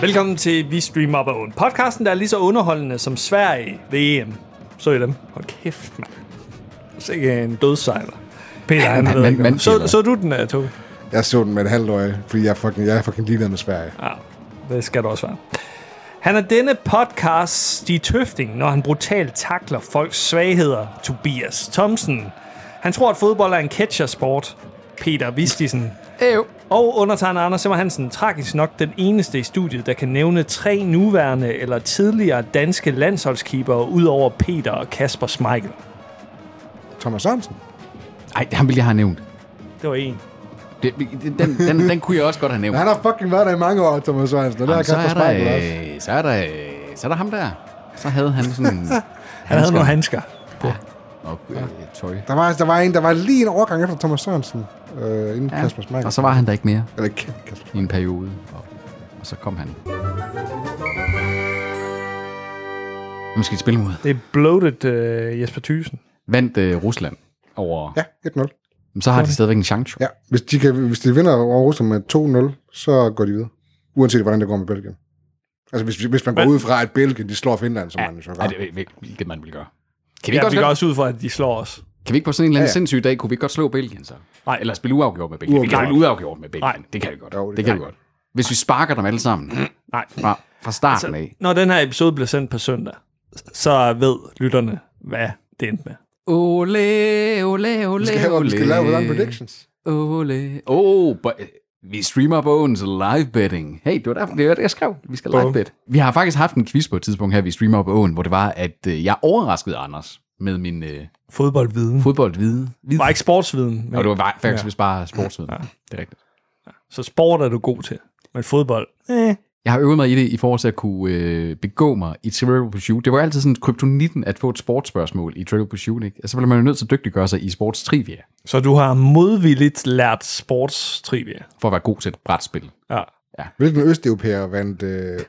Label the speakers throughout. Speaker 1: Velkommen til Vi Streamer Up Own. Podcasten, der er lige så underholdende som Sverige ved EM. Så I dem. Hold kæft, mand. Sikke en dødsejler. Peter, han
Speaker 2: Man-
Speaker 1: ved
Speaker 2: man-
Speaker 1: ikke.
Speaker 2: man-
Speaker 1: om- Så, så du den øh, der, Toge?
Speaker 2: Jeg så den med et halvt øje, fordi jeg er fucking, jeg er fucking ligeglad med Sverige.
Speaker 3: Ah.
Speaker 1: Ja, det skal du også være. Han er denne podcast Stig Tøfting, når han brutalt takler folks svagheder. Tobias Thomsen. Han tror, at fodbold er en catchersport. Peter Vistisen.
Speaker 3: Ew.
Speaker 1: Og undertegner Anders Simmer Hansen, tragisk nok den eneste i studiet, der kan nævne tre nuværende eller tidligere danske landsholdskeepere, ud over Peter og Kasper Schmeichel.
Speaker 2: Thomas Sørensen?
Speaker 3: Ej, ham ville jeg have nævnt.
Speaker 1: Det var en.
Speaker 3: Det, den, den, den kunne jeg også godt have nævnt.
Speaker 2: Han har fucking været der i mange år, Thomas Sørensen. Og der
Speaker 3: Jamen,
Speaker 2: har
Speaker 3: så,
Speaker 2: Kasper
Speaker 3: er
Speaker 2: Spejl også.
Speaker 3: der, øh, så er der, øh, så er der ham der. Så havde han sådan en
Speaker 1: Han havde nogle handsker.
Speaker 3: og øh, tøj.
Speaker 2: Der var, der var, en, der var lige en overgang efter Thomas Sørensen, øh, inden ja. Kasper Smeichel.
Speaker 3: Og så var han der ikke mere
Speaker 2: Eller Ka- Kasper.
Speaker 3: i en periode. Og, og så kom han. Nu skal de spille mod.
Speaker 1: Det er bloated uh, Jesper Thyssen.
Speaker 3: Vandt øh, Rusland over... Ja.
Speaker 2: Ja, 1-0.
Speaker 3: Så har de stadigvæk en chance. jo.
Speaker 2: Ja. Hvis, de kan, hvis de vinder over Rusland med 2-0, så går de videre. Uanset hvordan det går med Belgien. Altså, hvis, hvis man går
Speaker 1: Men-
Speaker 2: ud fra, at Belgien de slår Finland, som ja. man jo
Speaker 3: Ej,
Speaker 2: gør.
Speaker 3: det, det, det, man vil gøre. Kan vi,
Speaker 1: Ja,
Speaker 3: ikke
Speaker 1: vi
Speaker 3: også,
Speaker 1: går
Speaker 3: godt,
Speaker 1: også ud fra, at de slår os.
Speaker 3: kan vi ikke på sådan en eller anden
Speaker 2: Ja, ja.
Speaker 3: sindssyg dag, kunne vi ikke godt slå Belgien så?
Speaker 1: Nej.
Speaker 3: Eller spille uafgjort med Belgien? Vi kan
Speaker 1: Uafgjort.
Speaker 3: spille uafgjort med Belgien.
Speaker 1: Nej.
Speaker 3: Det kan vi godt.
Speaker 2: Jo,
Speaker 3: det,
Speaker 2: det
Speaker 3: kan
Speaker 2: kan
Speaker 3: vi godt. Hvis vi sparker dem alle sammen
Speaker 1: Nej.
Speaker 3: fra, fra starten af.
Speaker 1: Så, når den her episode bliver sendt på søndag, så ved lytterne, hvad det endte med.
Speaker 3: Ole, ole, ole,
Speaker 2: Vi skal have, vi skal lave hvordan predictions.
Speaker 3: Ole. Oh, but, vi streamer Bogens live betting. Hey, det var derfor, det var det, jeg skrev. Vi skal live bet. Vi har faktisk haft en quiz på et tidspunkt her, vi streamer på Åen, hvor det var, at øh, jeg overraskede Anders med min øh,
Speaker 1: Fodboldviden.
Speaker 3: fodboldvide. Vid.
Speaker 1: Var ikke sportsviden,
Speaker 3: Og
Speaker 1: men,
Speaker 3: det var faktisk ja. bare sportsviden. Ja. Det er rigtigt.
Speaker 1: så sport er du god til. Men fodbold, eh.
Speaker 3: Jeg har øvet mig i det i forhold til at kunne øh, begå mig i Trivial Pursuit. Det var altid sådan kryptonitten at få et sportsspørgsmål i Trivial Pursuit, ikke? Og så blev man jo nødt til at dygtiggøre sig i sportstrivia,
Speaker 1: Så du har modvilligt lært sportstrivia.
Speaker 3: for at være god til et brætspil.
Speaker 1: Ja.
Speaker 2: Hvilken østeuropæer vandt øh...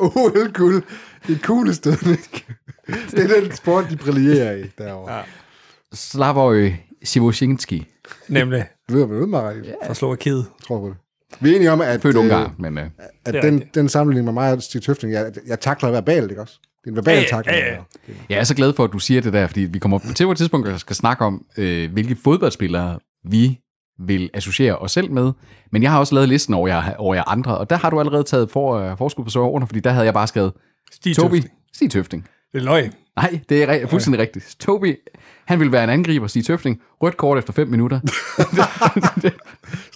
Speaker 2: OL-guld i kuglestødning? det er den sport, de brillerer i derovre. Ja.
Speaker 3: Slavoj Sivosjenski.
Speaker 1: Nemlig
Speaker 2: Det lyder vel ud, Marie. Ja.
Speaker 1: fra Slovakiet.
Speaker 2: Jeg tror på det. Vi er enige om, at,
Speaker 3: Født
Speaker 2: øh,
Speaker 3: Ungarn, men øh,
Speaker 2: at
Speaker 1: Det er
Speaker 2: den,
Speaker 1: rigtigt.
Speaker 2: den sammenligning med mig og Stig Tøfting, jeg, jeg takler verbalt, ikke også? Det er en verbal
Speaker 1: Ja, ja,
Speaker 2: takling.
Speaker 1: ja, ja.
Speaker 2: det der.
Speaker 3: jeg er så glad for, at du siger det der, fordi vi kommer til et tidspunkt, hvor jeg skal snakke om, øh, hvilke fodboldspillere vi vil associere os selv med. Men jeg har også lavet listen over jer, over jer andre, og der har du allerede taget for, øh, forskud på soverne, fordi der havde jeg bare skrevet,
Speaker 1: Stig
Speaker 3: Tobi,
Speaker 1: Tøfting.
Speaker 3: Stig Tøfting.
Speaker 1: Det er løg.
Speaker 3: Nej, det er re- fuldstændig rigtigt. Tobi, han vil være en angriber, Stig Tøfting. Rødt kort efter 5 minutter.
Speaker 2: Sådan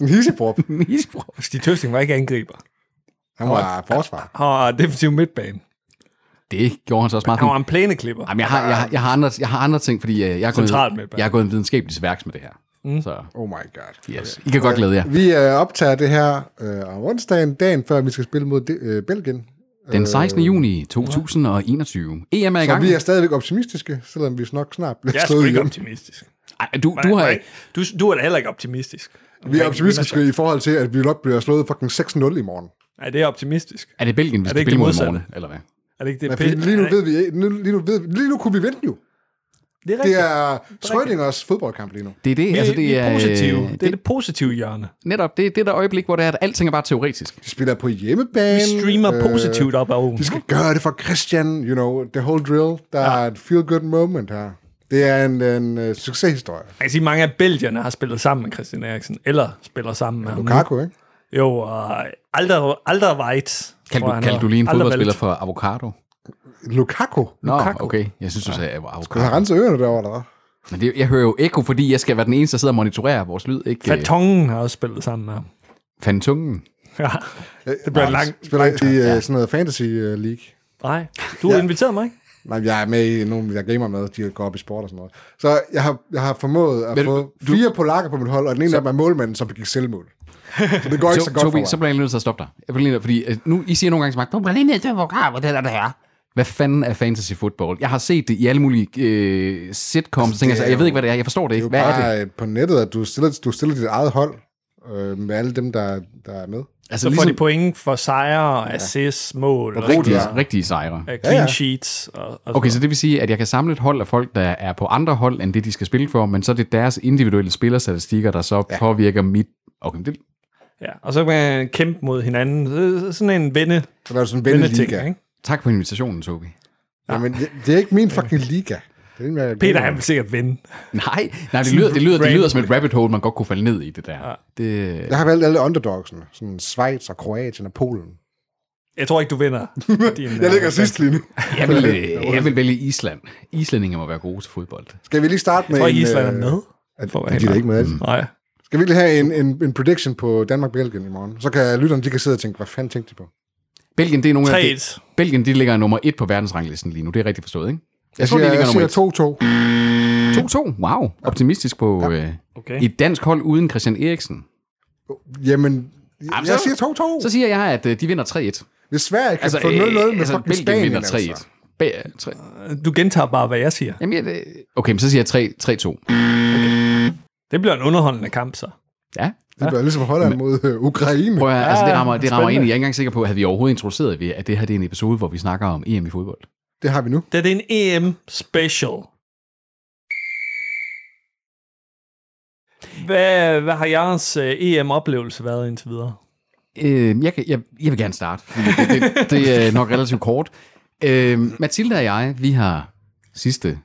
Speaker 2: en hissebrop.
Speaker 3: Misbrug.
Speaker 1: Stig Tøfting var ikke angriber.
Speaker 2: Han var forsvar.
Speaker 1: Han var defensiv midtbane.
Speaker 3: det gjorde han så også meget.
Speaker 1: Han
Speaker 3: fint.
Speaker 1: var en plæneklipper.
Speaker 3: Jamen, jeg har, jeg, har, jeg, har andre, jeg har andre ting, fordi øh, jeg er
Speaker 1: Centralt
Speaker 3: gået,
Speaker 1: midtbane.
Speaker 3: jeg er gået en videnskabelig til værks med det her. Mm. Så
Speaker 2: Oh my god.
Speaker 3: yes, I kan godt glæde jer.
Speaker 2: Vi øh, optager det her øh, om onsdagen, dagen før vi skal spille mod de, øh, Belgien.
Speaker 3: Den 16. juni 2021. EM E er i
Speaker 2: Øh, Så
Speaker 3: gang.
Speaker 2: vi er stadigvæk optimistiske, selvom vi nok snart bliver
Speaker 1: Jeg er sgu
Speaker 2: slået
Speaker 1: ikke
Speaker 2: hjem.
Speaker 1: optimistisk.
Speaker 3: Ej, du, du har...
Speaker 1: du, du er da heller ikke optimistisk.
Speaker 2: Vi er optimistiske i forhold til, at vi nok bliver slået fucking 6-0 i morgen.
Speaker 1: Nej, det er optimistisk.
Speaker 3: Er det Belgien, vi
Speaker 1: Er
Speaker 3: skal
Speaker 1: det ikke
Speaker 3: spille
Speaker 1: det
Speaker 3: mod i
Speaker 1: modsatte?
Speaker 3: morgen? Eller hvad?
Speaker 1: Er det ikke det?
Speaker 2: Men fordi lige nu ved vi ikke- nu, lige nu, ved, vi- lige nu kunne vi vinde jo.
Speaker 1: det er
Speaker 2: Det
Speaker 1: rigtigt.
Speaker 2: er Schrödingers fodboldkamp lige nu.
Speaker 3: Det er det,
Speaker 1: Vi,
Speaker 3: altså det,
Speaker 1: vi er,
Speaker 3: er...
Speaker 1: positive.
Speaker 3: øh,
Speaker 1: Det,
Speaker 3: Det,
Speaker 1: er det positive hjørne.
Speaker 3: netop, det er det der øjeblik, hvor det er, at alting er bare teoretisk.
Speaker 2: De spiller på hjemmebane.
Speaker 1: Vi streamer positivt op af ugen.
Speaker 2: De skal gøre øh, det for Christian, you know, the whole drill. Der ja. er et feel-good moment her. Det er en, en uh, succeshistorie.
Speaker 1: Man kan sige, at mange af belgierne har spillet sammen med Christian Eriksen, eller spiller sammen med ham.
Speaker 2: Lukaku, ikke?
Speaker 1: Jo, og Alder, Alderweit.
Speaker 3: Kan
Speaker 1: tror
Speaker 3: du,
Speaker 1: jeg, han
Speaker 3: kan
Speaker 1: hedder.
Speaker 3: du lige en
Speaker 1: Alderweilt.
Speaker 3: fodboldspiller for Avocado?
Speaker 2: Lukaku.
Speaker 3: Nå,
Speaker 1: Lukaku.
Speaker 3: okay. Jeg synes, du sagde
Speaker 2: Du har
Speaker 3: Avocado.
Speaker 2: renset ørerne derovre, eller hvad?
Speaker 3: Men det, jeg hører jo ekko, fordi jeg skal være den eneste, der sidder og monitorerer vores lyd. Ikke? Øh,
Speaker 1: Fatongen har også spillet sammen med ham.
Speaker 3: Fantungen.
Speaker 1: Ja,
Speaker 2: Øh,
Speaker 1: det bliver langt.
Speaker 2: Spiller ikke i uh, sådan noget fantasy uh, league.
Speaker 1: Nej, du har
Speaker 2: Ja.
Speaker 1: inviteret mig, ikke?
Speaker 2: Nej, jeg er med i nogle, jeg gamer med, de går op i sport og sådan noget. Så jeg har, jeg har formået at
Speaker 3: Men
Speaker 2: få fire polakker på mit hold, og den ene af dem er målmanden, som begik selvmål. Så det går ikke så,
Speaker 3: Så,
Speaker 2: godt for
Speaker 3: Tobi,
Speaker 2: mig.
Speaker 3: så bliver jeg nødt til at stoppe dig. Jeg bliver nødt, fordi øh, nu, I siger nogle gange til mig, du bliver lige nødt til at forklare, hvad det der, der er. Hvad fanden er fantasy football? Jeg har set det i alle mulige øh, sitcoms. Altså,
Speaker 2: det
Speaker 3: tænker,
Speaker 2: er
Speaker 3: jeg, jeg ved
Speaker 2: jo-
Speaker 3: ikke, hvad det er. Jeg forstår det
Speaker 2: det er
Speaker 3: ikke.
Speaker 2: jo
Speaker 3: Hvad er det?
Speaker 2: bare øh, på nettet, at du stiller, du stiller dit eget hold øh, med alle dem, der, der er med.
Speaker 3: Altså,
Speaker 1: Så får
Speaker 2: Ligesom-
Speaker 1: de point for sejre, assist, mål, og
Speaker 3: rigtige,
Speaker 2: Ja.
Speaker 3: rigtige sejre.
Speaker 1: clean
Speaker 2: Ja, ja.
Speaker 1: sheets. Og, og
Speaker 3: Okay, så det vil sige, at jeg kan samle et hold af folk, der er på andre hold, end det, de skal spille for, men så er det deres individuelle spillerstatistikker, der så ja. påvirker mit... Okay, men det,
Speaker 1: Ja, og så kan man kæmpe mod hinanden. Så- Sådan en vende,
Speaker 2: Så var det sådan en
Speaker 1: vendeting,
Speaker 2: venneliga.
Speaker 1: ikke?
Speaker 3: Tak for invitationen, Tobi.
Speaker 2: Jamen, det, det er ikke min fucking liga. Det er den, jeg-
Speaker 1: Peter, han vil sikkert vinde.
Speaker 3: Nej, nej det, lyder, det, lyder, det lyder som et rabbit hole, man godt kunne falde ned i det der. Det,
Speaker 2: Jeg har valgt alle underdogsene. Sådan Schweiz og Kroatien og Polen.
Speaker 1: Jeg tror ikke, du vinder. Din,
Speaker 2: Jeg ligger
Speaker 1: øh,
Speaker 2: sidst lige nu.
Speaker 3: jeg, vil, øh, jeg vil vælge Island. Islændinge må være gode til fodbold.
Speaker 2: Skal vi lige starte med
Speaker 1: Jeg tror
Speaker 2: en...
Speaker 1: ikke, Island
Speaker 2: øh,
Speaker 1: er med.
Speaker 2: at-
Speaker 1: For at være helt
Speaker 2: at de er
Speaker 1: ærlig.
Speaker 2: ikke med. Mm.
Speaker 1: Nej.
Speaker 2: Skal vi lige have en, en, en prediction på Danmark-Belgien i morgen? Så kan lytterne, de kan sidde og tænke, hvad fanden tænkte de på?
Speaker 3: Belgien, det er nogle af de,
Speaker 1: 3-1.
Speaker 3: Belgien, de ligger nummer et på verdensranglisten lige nu. Det er rigtigt forstået, ikke? Jeg,
Speaker 2: Jeg
Speaker 3: tror, de
Speaker 2: siger,
Speaker 3: ligger
Speaker 2: jeg
Speaker 3: nummer
Speaker 2: siger
Speaker 3: et.
Speaker 2: 2-2.
Speaker 3: 2-2. Wow. Optimistisk på øh,
Speaker 1: Okay.
Speaker 3: et dansk hold uden Christian Eriksen.
Speaker 2: Jamen,
Speaker 3: Jamen,
Speaker 2: jeg
Speaker 3: så-
Speaker 2: siger
Speaker 3: Så
Speaker 2: 2-2.
Speaker 3: siger jeg, at øh, de vinder 3-1.
Speaker 2: Hvis Sverige kan altså, få 0-0 med altså, fucking
Speaker 3: Belgien
Speaker 2: Spanien,
Speaker 3: vinder 3-1.
Speaker 2: altså.
Speaker 3: Ba- tre-
Speaker 1: Du gentager bare, hvad jeg siger.
Speaker 3: Jamen, jeg, øh, okay, men så siger jeg 3-2.
Speaker 1: Det bliver en underholdende kamp, så.
Speaker 3: Ja.
Speaker 2: Det bliver ligesom Holland mod øh, Ukraine.
Speaker 3: Prøv at, høre, altså, det rammer, det rammer
Speaker 1: spændende.
Speaker 3: ind i. Jeg er ikke engang sikker på, at vi overhovedet introduceret ved, at det her det er en episode, hvor vi snakker om EM i fodbold.
Speaker 2: Det har vi nu.
Speaker 1: Det er en E EM-special. Hvad, hvad har jeres øh, EM-oplevelse været indtil videre?
Speaker 3: Øh, jeg, kan- jeg, jeg vil gerne starte. fordi Det, det, det er nok relativt kort. Øh, Mathilde og jeg, vi har sidste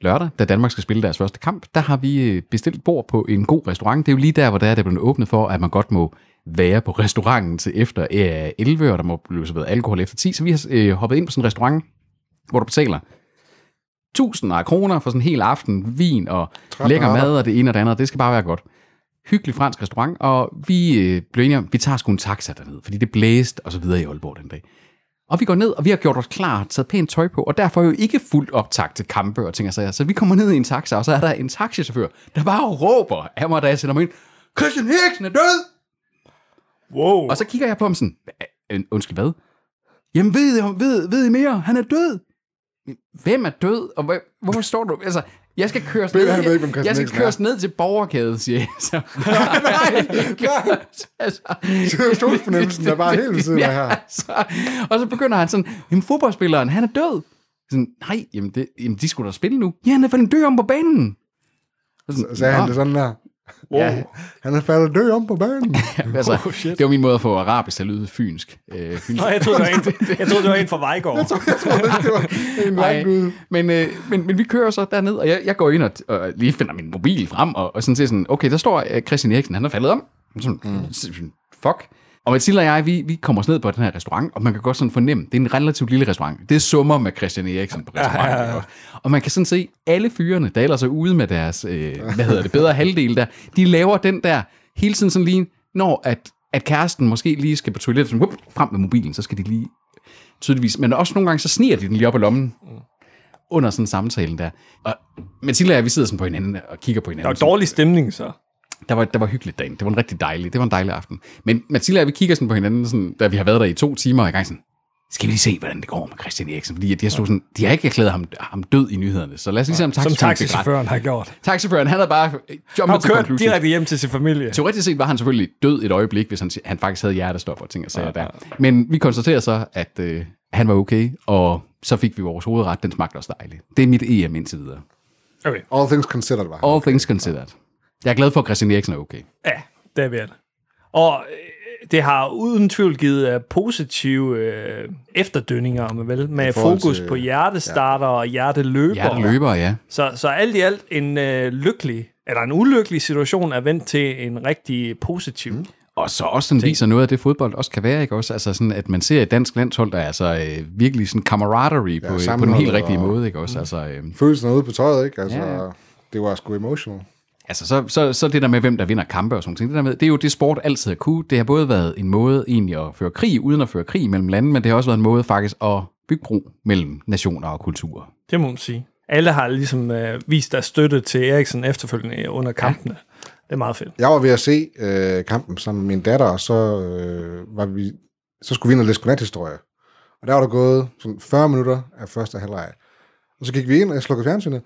Speaker 3: lørdag, da Danmark skal spille deres første kamp, der har vi øh, bestilt bord på en god restaurant. Det er jo lige der, hvor der er det blevet åbnet for, at man godt må være på restauranten til efter øh, 11, og der må blive serveret alkohol efter 10. Så vi har øh, hoppet ind på sådan en restaurant, hvor du betaler tusinder af kroner for sådan en hel aften, vin og lækker
Speaker 2: retter.
Speaker 3: mad og det ene og det andet. Det skal bare være godt hyggelig fransk restaurant, og vi øh, blev enige om, at vi tager sgu en taxa derned, fordi det blæste og så videre i Aalborg den dag. Og vi går ned, og vi har gjort os klar, taget pænt tøj på, og derfor jo ikke fuldt optag til kampe og ting og sager. Så vi kommer ned i en taxa, og så er der en taxichauffør, der bare råber af mig, da jeg sender mig ind, Christian Eriksen er død!
Speaker 1: Wow.
Speaker 3: Og så kigger jeg på ham sådan, "Øh, undskyld hvad? Jamen ved, I- ved, ved I mere? Han er død! Hvem er død? Og hvad, hvorfor står du? Altså, jeg skal køres ned,
Speaker 2: Ved han ikke, hvem Christian
Speaker 3: jeg skal
Speaker 2: Eriksen er?
Speaker 3: køres ned til borgerkæden, siger jeg så. Nej, nej. altså,
Speaker 2: Situationsfornemmelsen er bare helt ved siden af her.
Speaker 3: så, og så begynder han sådan, jamen fodboldspilleren, han er død. Sådan, nej, jamen, det, jamen de skulle da spille nu. Ja, han er fandme død om på banen. Og sådan,
Speaker 2: Sagde Altså, han
Speaker 3: "Nå."
Speaker 2: det sådan der.
Speaker 1: wow.
Speaker 3: Ja.
Speaker 2: Han er faldet død om på banen.
Speaker 3: altså, oh, det var min måde at få arabisk til at lyde fynsk. Øh, fynsk.
Speaker 1: Nå, jeg troede, det var en, jeg troede, det var en fra Vejgaard.
Speaker 2: jeg tror ikke, det var en
Speaker 3: Nej,
Speaker 2: lang ud.
Speaker 3: men, øh, men, men vi kører så derned, og jeg, jeg går ind og, og lige finder min mobil frem, og, og sådan ser sådan, okay, der står øh, Christian Eriksen, han er faldet om. Sådan, mm. Fuck. Og Mathilde og jeg, vi, vi kommer os ned på den her restaurant, og man kan godt sådan fornemme, det er en relativt lille restaurant. Det er summer med Christian Eriksen på restauranten. Ja, ja, ja. Og man kan sådan se, alle fyrene, der ellers er ude med deres, øh, hvad hedder det, bedre halvdel der, de laver den der, hele tiden sådan lige, når at, at kæresten måske lige skal på toilettet, sådan, whoop, frem med mobilen, så skal de lige tydeligvis. Men også nogle gange, så sniger de den lige op i lommen under sådan samtalen der. Og Mathilde og jeg, vi sidder sådan på hinanden og kigger på
Speaker 1: Der
Speaker 3: hinanden.
Speaker 1: var dårlig stemning, så.
Speaker 3: der, var, der var hyggeligt dagen. Det var en rigtig dejlig, det var en dejlig aften. Men Mathilde og jeg, vi kigger sådan på hinanden, sådan, da vi har været der i to timer og i gang sådan, skal vi lige se, hvordan det går med Christian Eriksen? Fordi at de har, stået sådan, de har ikke erklæret ham, ham død i nyhederne. Så lad os lige se, om
Speaker 1: Som
Speaker 3: taxichaufføren fik ret.
Speaker 1: taxichaufføren har gjort.
Speaker 3: Taxichaufføren, han havde bare øh,
Speaker 1: Han
Speaker 3: jumpet
Speaker 1: har
Speaker 3: til
Speaker 1: kørt
Speaker 3: conclusion.
Speaker 1: direkte hjem til sin familie.
Speaker 3: Teoretisk set var han selvfølgelig død et øjeblik, hvis han, han faktisk havde hjertestop og ting og sager der. Men vi konstaterer så, at øh, han var okay, og så fik vi vores hovedret. Den smagte også dejligt. Det er mit EM indtil videre.
Speaker 1: Okay.
Speaker 2: All things considered, var han.
Speaker 3: All okay. things considered. Jeg er glad for, at Christian Eriksen er okay.
Speaker 1: Ja, det er vi alle. Og øh, det har uden tvivl givet øh, positive øh, efterdønninger, men vel, med
Speaker 2: forhold
Speaker 1: fokus
Speaker 2: til-
Speaker 1: på hjertestarter og hjerteløber.
Speaker 3: Hjerteløber, ja.
Speaker 1: Så, så alt i alt en øh, lykkelig, eller en ulykkelig situation er vendt til en rigtig positiv. Mm.
Speaker 3: Og så også sådan viser noget af det, fodbold også kan være, ikke også? Altså sådan, at man ser et dansk landshold, der er altså øh, virkelig sådan camaraderie på, ja, på den helt
Speaker 2: sammenholdet
Speaker 3: rigtige
Speaker 2: og-
Speaker 3: måde, ikke også? Altså, øh,
Speaker 2: Følelsen er ude på tøjet, ikke? Altså,
Speaker 3: Ja, ja.
Speaker 2: det var sgu emotional.
Speaker 3: Altså, så, så, så det der med, hvem der vinder kampe og sådan noget, det, der med, det er jo det, sport altid har kunne. Det har både været en måde egentlig at føre krig, uden at føre krig mellem lande, men det har også været en måde faktisk at bygge bro mellem nationer og kulturer.
Speaker 1: Det må man sige. Alle har ligesom øh, vist deres støtte til Eriksen efterfølgende under kampene. Ja. Det er meget fedt.
Speaker 2: Jeg var ved at se øh, kampen sammen med min datter, og så, øh, var vi, så skulle vi ind og læse godnathistorie. Og der var der gået sådan 40 minutter af første halvleg. Og så gik vi ind, og jeg slukkede fjernsynet.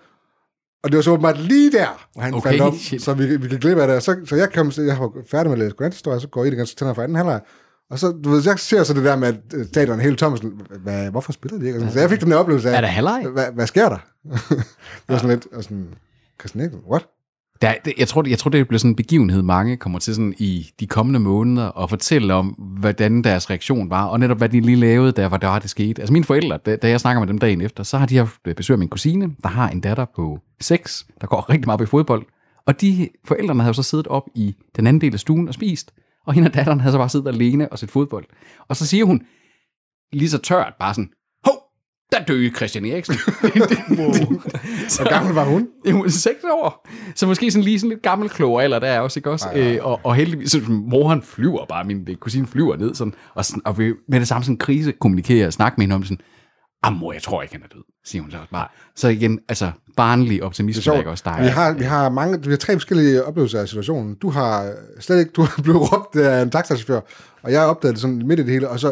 Speaker 2: Og det var så åbenbart lige der, hvor han
Speaker 3: Okay,
Speaker 2: okay, faldt om,
Speaker 3: shit.
Speaker 2: så vi, vi gik glip af det. Og Så, så jeg, kom, så jeg var færdig med at læse godnathistorie, og så går jeg ind igen, så tænder jeg for anden halvleg. Og så, du ved, jeg ser så det der med, at øh, teateren er helt tom, sådan, hvad, hvorfor spiller de ikke? Og sådan, Så jeg fik den der oplevelse af,
Speaker 3: Er der halvleg?
Speaker 2: hvad, hvad sker der? det var sådan lidt, og sådan, Christian Eriksen, what?
Speaker 3: Der, det- jeg, tror, det- jeg tror, det bliver sådan en begivenhed, mange kommer til sådan i de kommende måneder og fortælle om, hvordan deres reaktion var, og netop hvad de lige lavede, der var der det skete. Altså mine forældre, da, da jeg snakker med dem dagen efter, så har de haft øh, besøg af min kusine, der har en datter på 6, der går rigtig meget op i fodbold. Og de forældrene havde jo så siddet op i den anden del af stuen og spist, og hende og datteren havde så bare siddet alene og set fodbold. Og så siger hun, lige så tørt, bare sådan, hov, der døde Christian Eriksen.
Speaker 2: Hvor gammel var hun?
Speaker 3: Det er jo seks år. Så måske sådan lige sådan lidt gammel klog alder, der er også, ikke også?
Speaker 2: Ej, ej, ej.
Speaker 3: Øh, og, og heldigvis, så moren flyver bare, min øh, kusine flyver ned, sådan, og, sådan, og vil med det samme sådan krise kommunikere og snakke med hende om sådan, ah mor, jeg tror ikke, han er død, siger hun så også bare. Så igen, altså barnlig optimisme, der ikke også dig.
Speaker 2: Vi har, vi, har mange, vi har tre forskellige oplevelser af situationen. Du har øh, slet ikke, du er blevet råbt af en taxachauffør, og jeg opdagede det sådan midt i det hele, og så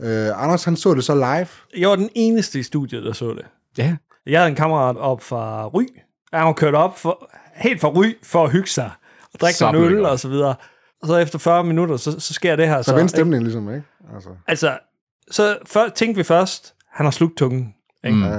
Speaker 2: øh, Anders, han så det så live.
Speaker 1: Jeg var den eneste i studiet, der så det.
Speaker 3: Ja,
Speaker 1: Jeg havde en kammerat op fra Ry. Han var kørt op for, helt fra Ry for at hygge sig. Og drikke
Speaker 3: Så
Speaker 1: nogle
Speaker 3: blev det
Speaker 1: øl
Speaker 3: godt.
Speaker 1: og så videre. Og så efter 40 minutter, så, så sker det her.
Speaker 2: Så vendte
Speaker 1: ikke?
Speaker 2: stemningen ligesom, ikke? Altså,
Speaker 1: Altså, så før, tænkte vi først, han har slugt tungen. Ikke?
Speaker 3: Mm.
Speaker 1: Mm.
Speaker 2: ja.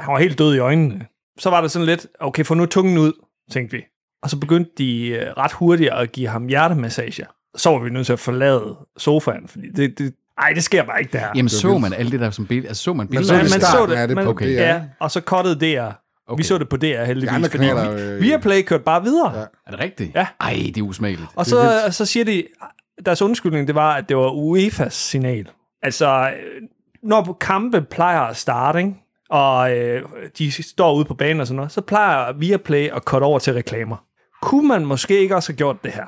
Speaker 1: Han var helt død i øjnene. Så var det sådan lidt, okay, få nu tungen ud, tænkte vi. Og så begyndte de øh, ret hurtigt at give ham hjertemassager. Så var vi nødt til at forlade sofaen, fordi det, det, ej, det sker bare ikke, det her.
Speaker 3: jamen så man alt det der som billede, altså så man billeder?
Speaker 2: så det
Speaker 1: man
Speaker 2: i
Speaker 1: så
Speaker 2: starten
Speaker 1: det,
Speaker 2: af det
Speaker 1: men-
Speaker 2: på
Speaker 3: okay.
Speaker 2: DR.
Speaker 1: Ja, og så kottede DR. Okay.
Speaker 3: Okay.
Speaker 1: Vi så det på DR heldigvis,
Speaker 2: De andre
Speaker 1: fordi
Speaker 2: kanaler, øh,
Speaker 1: vi, Viaplay kørte bare videre. Ja.
Speaker 3: Er det rigtigt?
Speaker 1: Ja.
Speaker 3: Ej, det er usmageligt.
Speaker 1: Og så, så siger de, deres undskyldning det var, at det var UEFA's signal. Altså, øh, når kampe plejer at starte, ikke? og øh, de står ude på banen og sådan noget, så plejer Viaplay at cutte over til reklamer. Kunne man måske ikke også have gjort det her?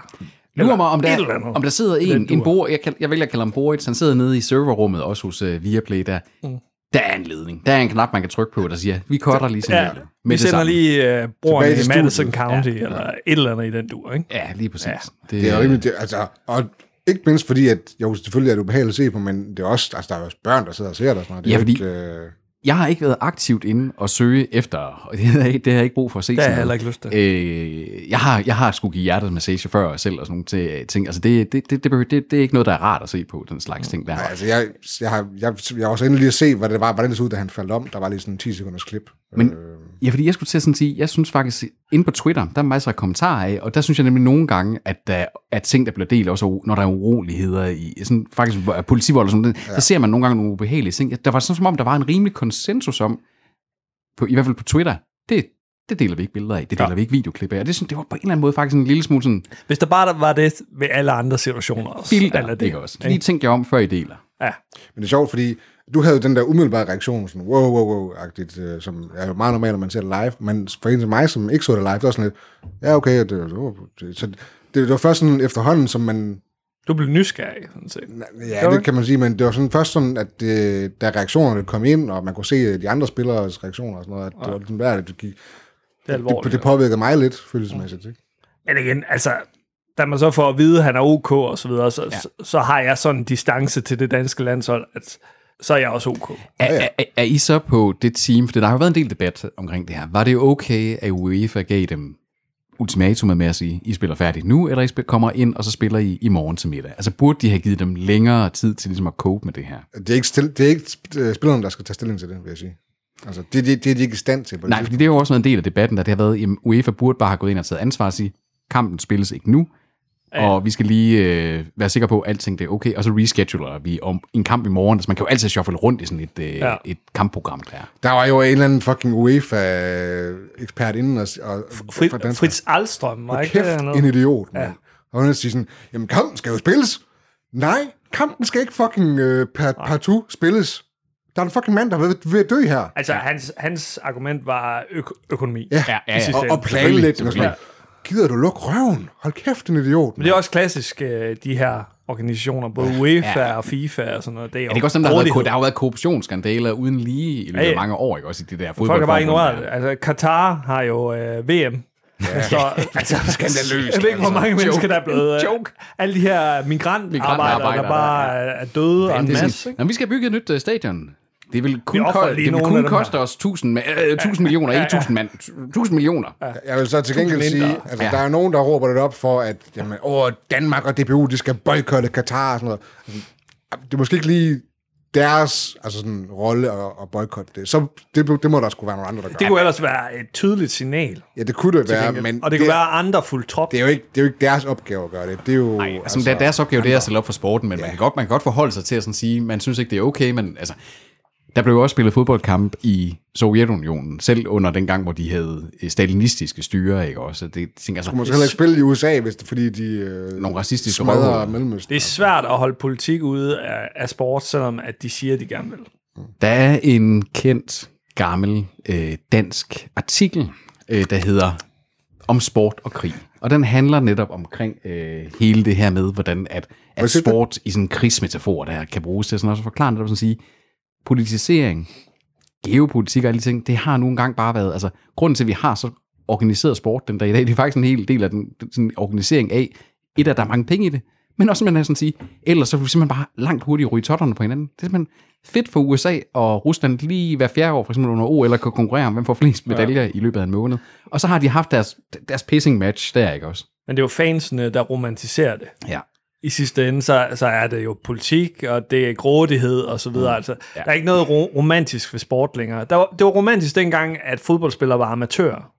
Speaker 3: Lurer mig, om
Speaker 1: et
Speaker 3: der,
Speaker 1: eller andet.
Speaker 3: om der sidder
Speaker 1: Lidt
Speaker 3: en, en
Speaker 1: dur.
Speaker 3: bor, jeg, kal- jeg vælger at kalde ham Boris, han sidder nede i serverrummet, også hos uh, Viaplay, der, mm. der er en ledning. Der er en knap, man kan trykke på, der siger, vi cutter lige
Speaker 1: Ja,
Speaker 3: signalet. med
Speaker 1: vi
Speaker 3: det
Speaker 1: sender
Speaker 3: samme."
Speaker 1: lige øh, brugerne
Speaker 2: Tilbage til
Speaker 1: i Madison
Speaker 2: studiet.
Speaker 1: County, ja. eller et eller andet i den dur, ikke?
Speaker 3: Ja, lige præcis. Ja,
Speaker 2: Det er jo rimelig, det, altså, og ikke mindst fordi, at jo, selvfølgelig er det ubehageligt at se på, men det er også, altså, der er jo også børn, der sidder og ser det og sådan noget. Det
Speaker 3: Ja,
Speaker 2: er jo
Speaker 3: fordi-
Speaker 2: Ikke, øh,
Speaker 3: Jeg har ikke været aktivt inde og søge efter, og det har jeg, ikke- det har jeg ikke brug for at se.
Speaker 1: Det har jeg
Speaker 3: sådan noget.
Speaker 1: heller ikke
Speaker 3: Øh, jeg, har, jeg har sgu givet hjertet massage før og selv og sådan nogle til- ting. Altså det, det, det, det, behøver- det, det er ikke noget, der er rart at se på, den
Speaker 1: Mm.
Speaker 3: slags ting der.
Speaker 2: Nej, altså, jeg, jeg, har, jeg, jeg har også endelig lige at se, hvad det var, hvordan det så ud, da han faldt om. Der var lige sådan en 10 sekunders klip. Øh,
Speaker 3: Men ja, fordi jeg skulle til at sådan sige, jeg synes faktisk, inde på Twitter, der er masser af kommentarer af, og der synes jeg nemlig nogle gange, at, der, at ting, der bliver delt, også er uro- når der er uroligheder i, sådan faktisk hvor- politivold og sådan noget, ja. så ser man nogle gange nogle ubehagelige ting. Der var sådan som om, der var en rimelig konsensus om, på, i hvert fald på Twitter, det, det deler vi ikke billeder af, det deler ja. vi ikke videoklip af, og det, synes, det var på en eller anden måde faktisk en lille smule sådan,
Speaker 1: Hvis der bare var det ved alle andre situationer også.
Speaker 3: filter,
Speaker 1: eller
Speaker 3: det, det også. Lige tænk jer om, før I deler.
Speaker 1: Ja.
Speaker 2: Men det er sjovt, fordi du havde jo den der umiddelbare reaktion, sådan wow, wow, wow-agtigt, øh, som er jo meget normalt, når man ser det live. Men for en som mig, som ikke så det live, det var sådan lidt, ja, okay, det, det, det, så det, det var først sådan efterhånden, som man
Speaker 1: Du blev nysgerrig, sådan set. Gør
Speaker 2: Ja,
Speaker 1: du
Speaker 2: det
Speaker 1: ikke?
Speaker 2: kan man sige, men det var sådan først sådan, at det, da reaktionerne kom ind, og man kunne se øh, de andre spilleres reaktioner og sådan noget, at det var sådan, hvad er det, du gik?
Speaker 1: Det er alvorligt.
Speaker 2: Det, det påvirkede mig lidt, følelsesmæssigt. Ikke?
Speaker 1: Men igen, altså, da man så får at vide, at han er ok og så videre, så, ja. så, så har jeg sådan en distance til det danske landshold, at så er jeg også ok.
Speaker 3: Er, er, er, er I så på det team, for der har jo været en del debat omkring det her. Var det okay, at UEFA gav dem ultimatumet med at sige, I spiller færdigt nu, eller I spil- kommer ind, og så spiller I i morgen til middag? Altså burde de have givet dem længere tid til ligesom at cope med det her?
Speaker 2: Det er ikke, stil, det er ikke øh, spillerne, der skal tage stilling til det, vil jeg sige. Altså, det, det, det er de ikke i stand til. på det
Speaker 3: Nej, fordi det har jo også været en del af debatten, der det har været, at UEFA burde bare have gået ind og taget ansvar og sige, kampen spilles ikke nu, ja. og vi skal lige øh, være sikre på, at alting det er okay, og så rescheduler vi om en kamp i morgen. Altså man kan jo altid shuffle rundt i sådan et, øh, ja.
Speaker 1: Ja.
Speaker 3: et kampprogram der.
Speaker 2: Der var jo en eller anden fucking UEFA-ekspert inden og, og
Speaker 1: Frit,
Speaker 2: fra Danmark.
Speaker 1: Fritz Alstrøm, var ikke det?
Speaker 2: Kæft,
Speaker 1: noget?
Speaker 2: en idiot, mand. Ja. Og hun siger sådan, jamen kampen skal jo spilles. Nej, kampen skal ikke fucking øh, per, partout spilles. Der er en fucking mand, der er ved, ved at dø her.
Speaker 1: Altså, hans, hans argument var øko- økonomi.
Speaker 2: Ja.
Speaker 3: Ja, ja, ja.
Speaker 2: Og, og planlægning og sådan noget. Gider du lukke røven? Hold kæft, en idiot.
Speaker 1: Men det er også klassisk, øh, de her organisationer, både UEFA ja. og FIFA og sådan noget. Det er,
Speaker 3: Er det ikke også dem, der har været,
Speaker 1: grådighed.
Speaker 3: der har jo været korruptionsskandaler uden lige i løbet
Speaker 1: Ja,
Speaker 3: af
Speaker 1: ja.
Speaker 3: mange år, ikke også i det der fodbold.
Speaker 1: Folk har bare ignoreret det. Altså, Katar har jo øh, VM. Ja. Så, altså,
Speaker 3: Skandaløst,
Speaker 1: Jeg ved ikke, hvor mange
Speaker 3: altså.
Speaker 1: mennesker, der er blevet... øh,
Speaker 3: Joke.
Speaker 1: Alle de her migrantarbejdere,
Speaker 3: Migrantarbejdere,
Speaker 1: der bare er døde, og en
Speaker 3: Det er
Speaker 1: masse.
Speaker 3: sådan, "Nå, vi skal bygge et nyt øh, stadion. Det vil kun,
Speaker 1: Vi offrer
Speaker 3: ko-
Speaker 1: lige
Speaker 3: det vil
Speaker 1: nogle af
Speaker 3: kun
Speaker 1: dem her."
Speaker 3: koste os 1000, ma- øh, 1000 millioner, ikke 1000 mand. 1000 millioner. Altså,
Speaker 2: Jeg vil så til gengæld
Speaker 1: Tusind
Speaker 2: sige,
Speaker 1: mindre.
Speaker 2: altså,
Speaker 3: Ja.
Speaker 2: ja. der er nogen, der råber det op for, at jamen, åh, Danmark og DBU, de skal boykotte Katar og sådan noget. Altså, Det er måske ikke lige deres altså sådan, rolle og, og boykotte det, så det, det må der skulle være nogle andre, der gør.
Speaker 1: Det kunne ellers være et tydeligt signal.
Speaker 2: ja, det kunne det være, men
Speaker 1: Og det kunne være andre fuldt trop.
Speaker 2: det, er jo ikke, det er jo ikke deres opgave at gøre det. Det er jo... Nej,
Speaker 3: Altså, altså, deres opgave det er at stille op for sporten, men ja. man, kan godt, man kan godt forholde sig til at sådan sige, man synes ikke, det er okay, men altså, der blev jo også spillet fodboldkamp i Sovjetunionen, selv under den gang, hvor de havde øh, stalinistiske styre, ikke også? Det jeg tænker
Speaker 2: Du må så
Speaker 3: altså,
Speaker 2: heller ikke spille i USA, hvis det, fordi de øh,
Speaker 3: nogle racistiske
Speaker 2: smadrer
Speaker 3: røvhuller.
Speaker 2: Mellemøsten.
Speaker 1: Det er svært at holde politik ude af, af sport, selvom at de siger, at de gerne vil.
Speaker 3: Der er en kendt, gammel øh, dansk artikel, øh, der hedder Om sport og krig. Og den handler netop omkring øh, hele det her med, hvordan at, at
Speaker 2: se det?
Speaker 3: sport i sådan en krigsmetafor, der kan bruges til sådan også at forklare netop sådan at sige, politisering, geopolitik og alle de ting, det har nu engang bare været, altså grunden til, at vi har så organiseret sport den dag i dag, det er faktisk en hel del af den sådan organisering af, et at der er mange penge i det, men også simpelthen at sådan sige, ellers så vil vi simpelthen bare langt hurtigere ryge totterne på hinanden. Det er simpelthen fedt for USA og Rusland lige hver fjerde år, for eksempel under OL, at kunne konkurrere om, hvem får flest medaljer ja. i løbet af en måned. Og så har de haft deres, deres pissing match der, ikke også?
Speaker 1: Men det er jo fansene, der romantiserer det.
Speaker 3: Ja.
Speaker 1: I sidste ende, så, så er det jo politik, og det er grådighed og så videre. Mm. Altså, ja. Der er ikke noget ro- romantisk ved sport længere. Der var, det var romantisk dengang, at fodboldspillere var amatører.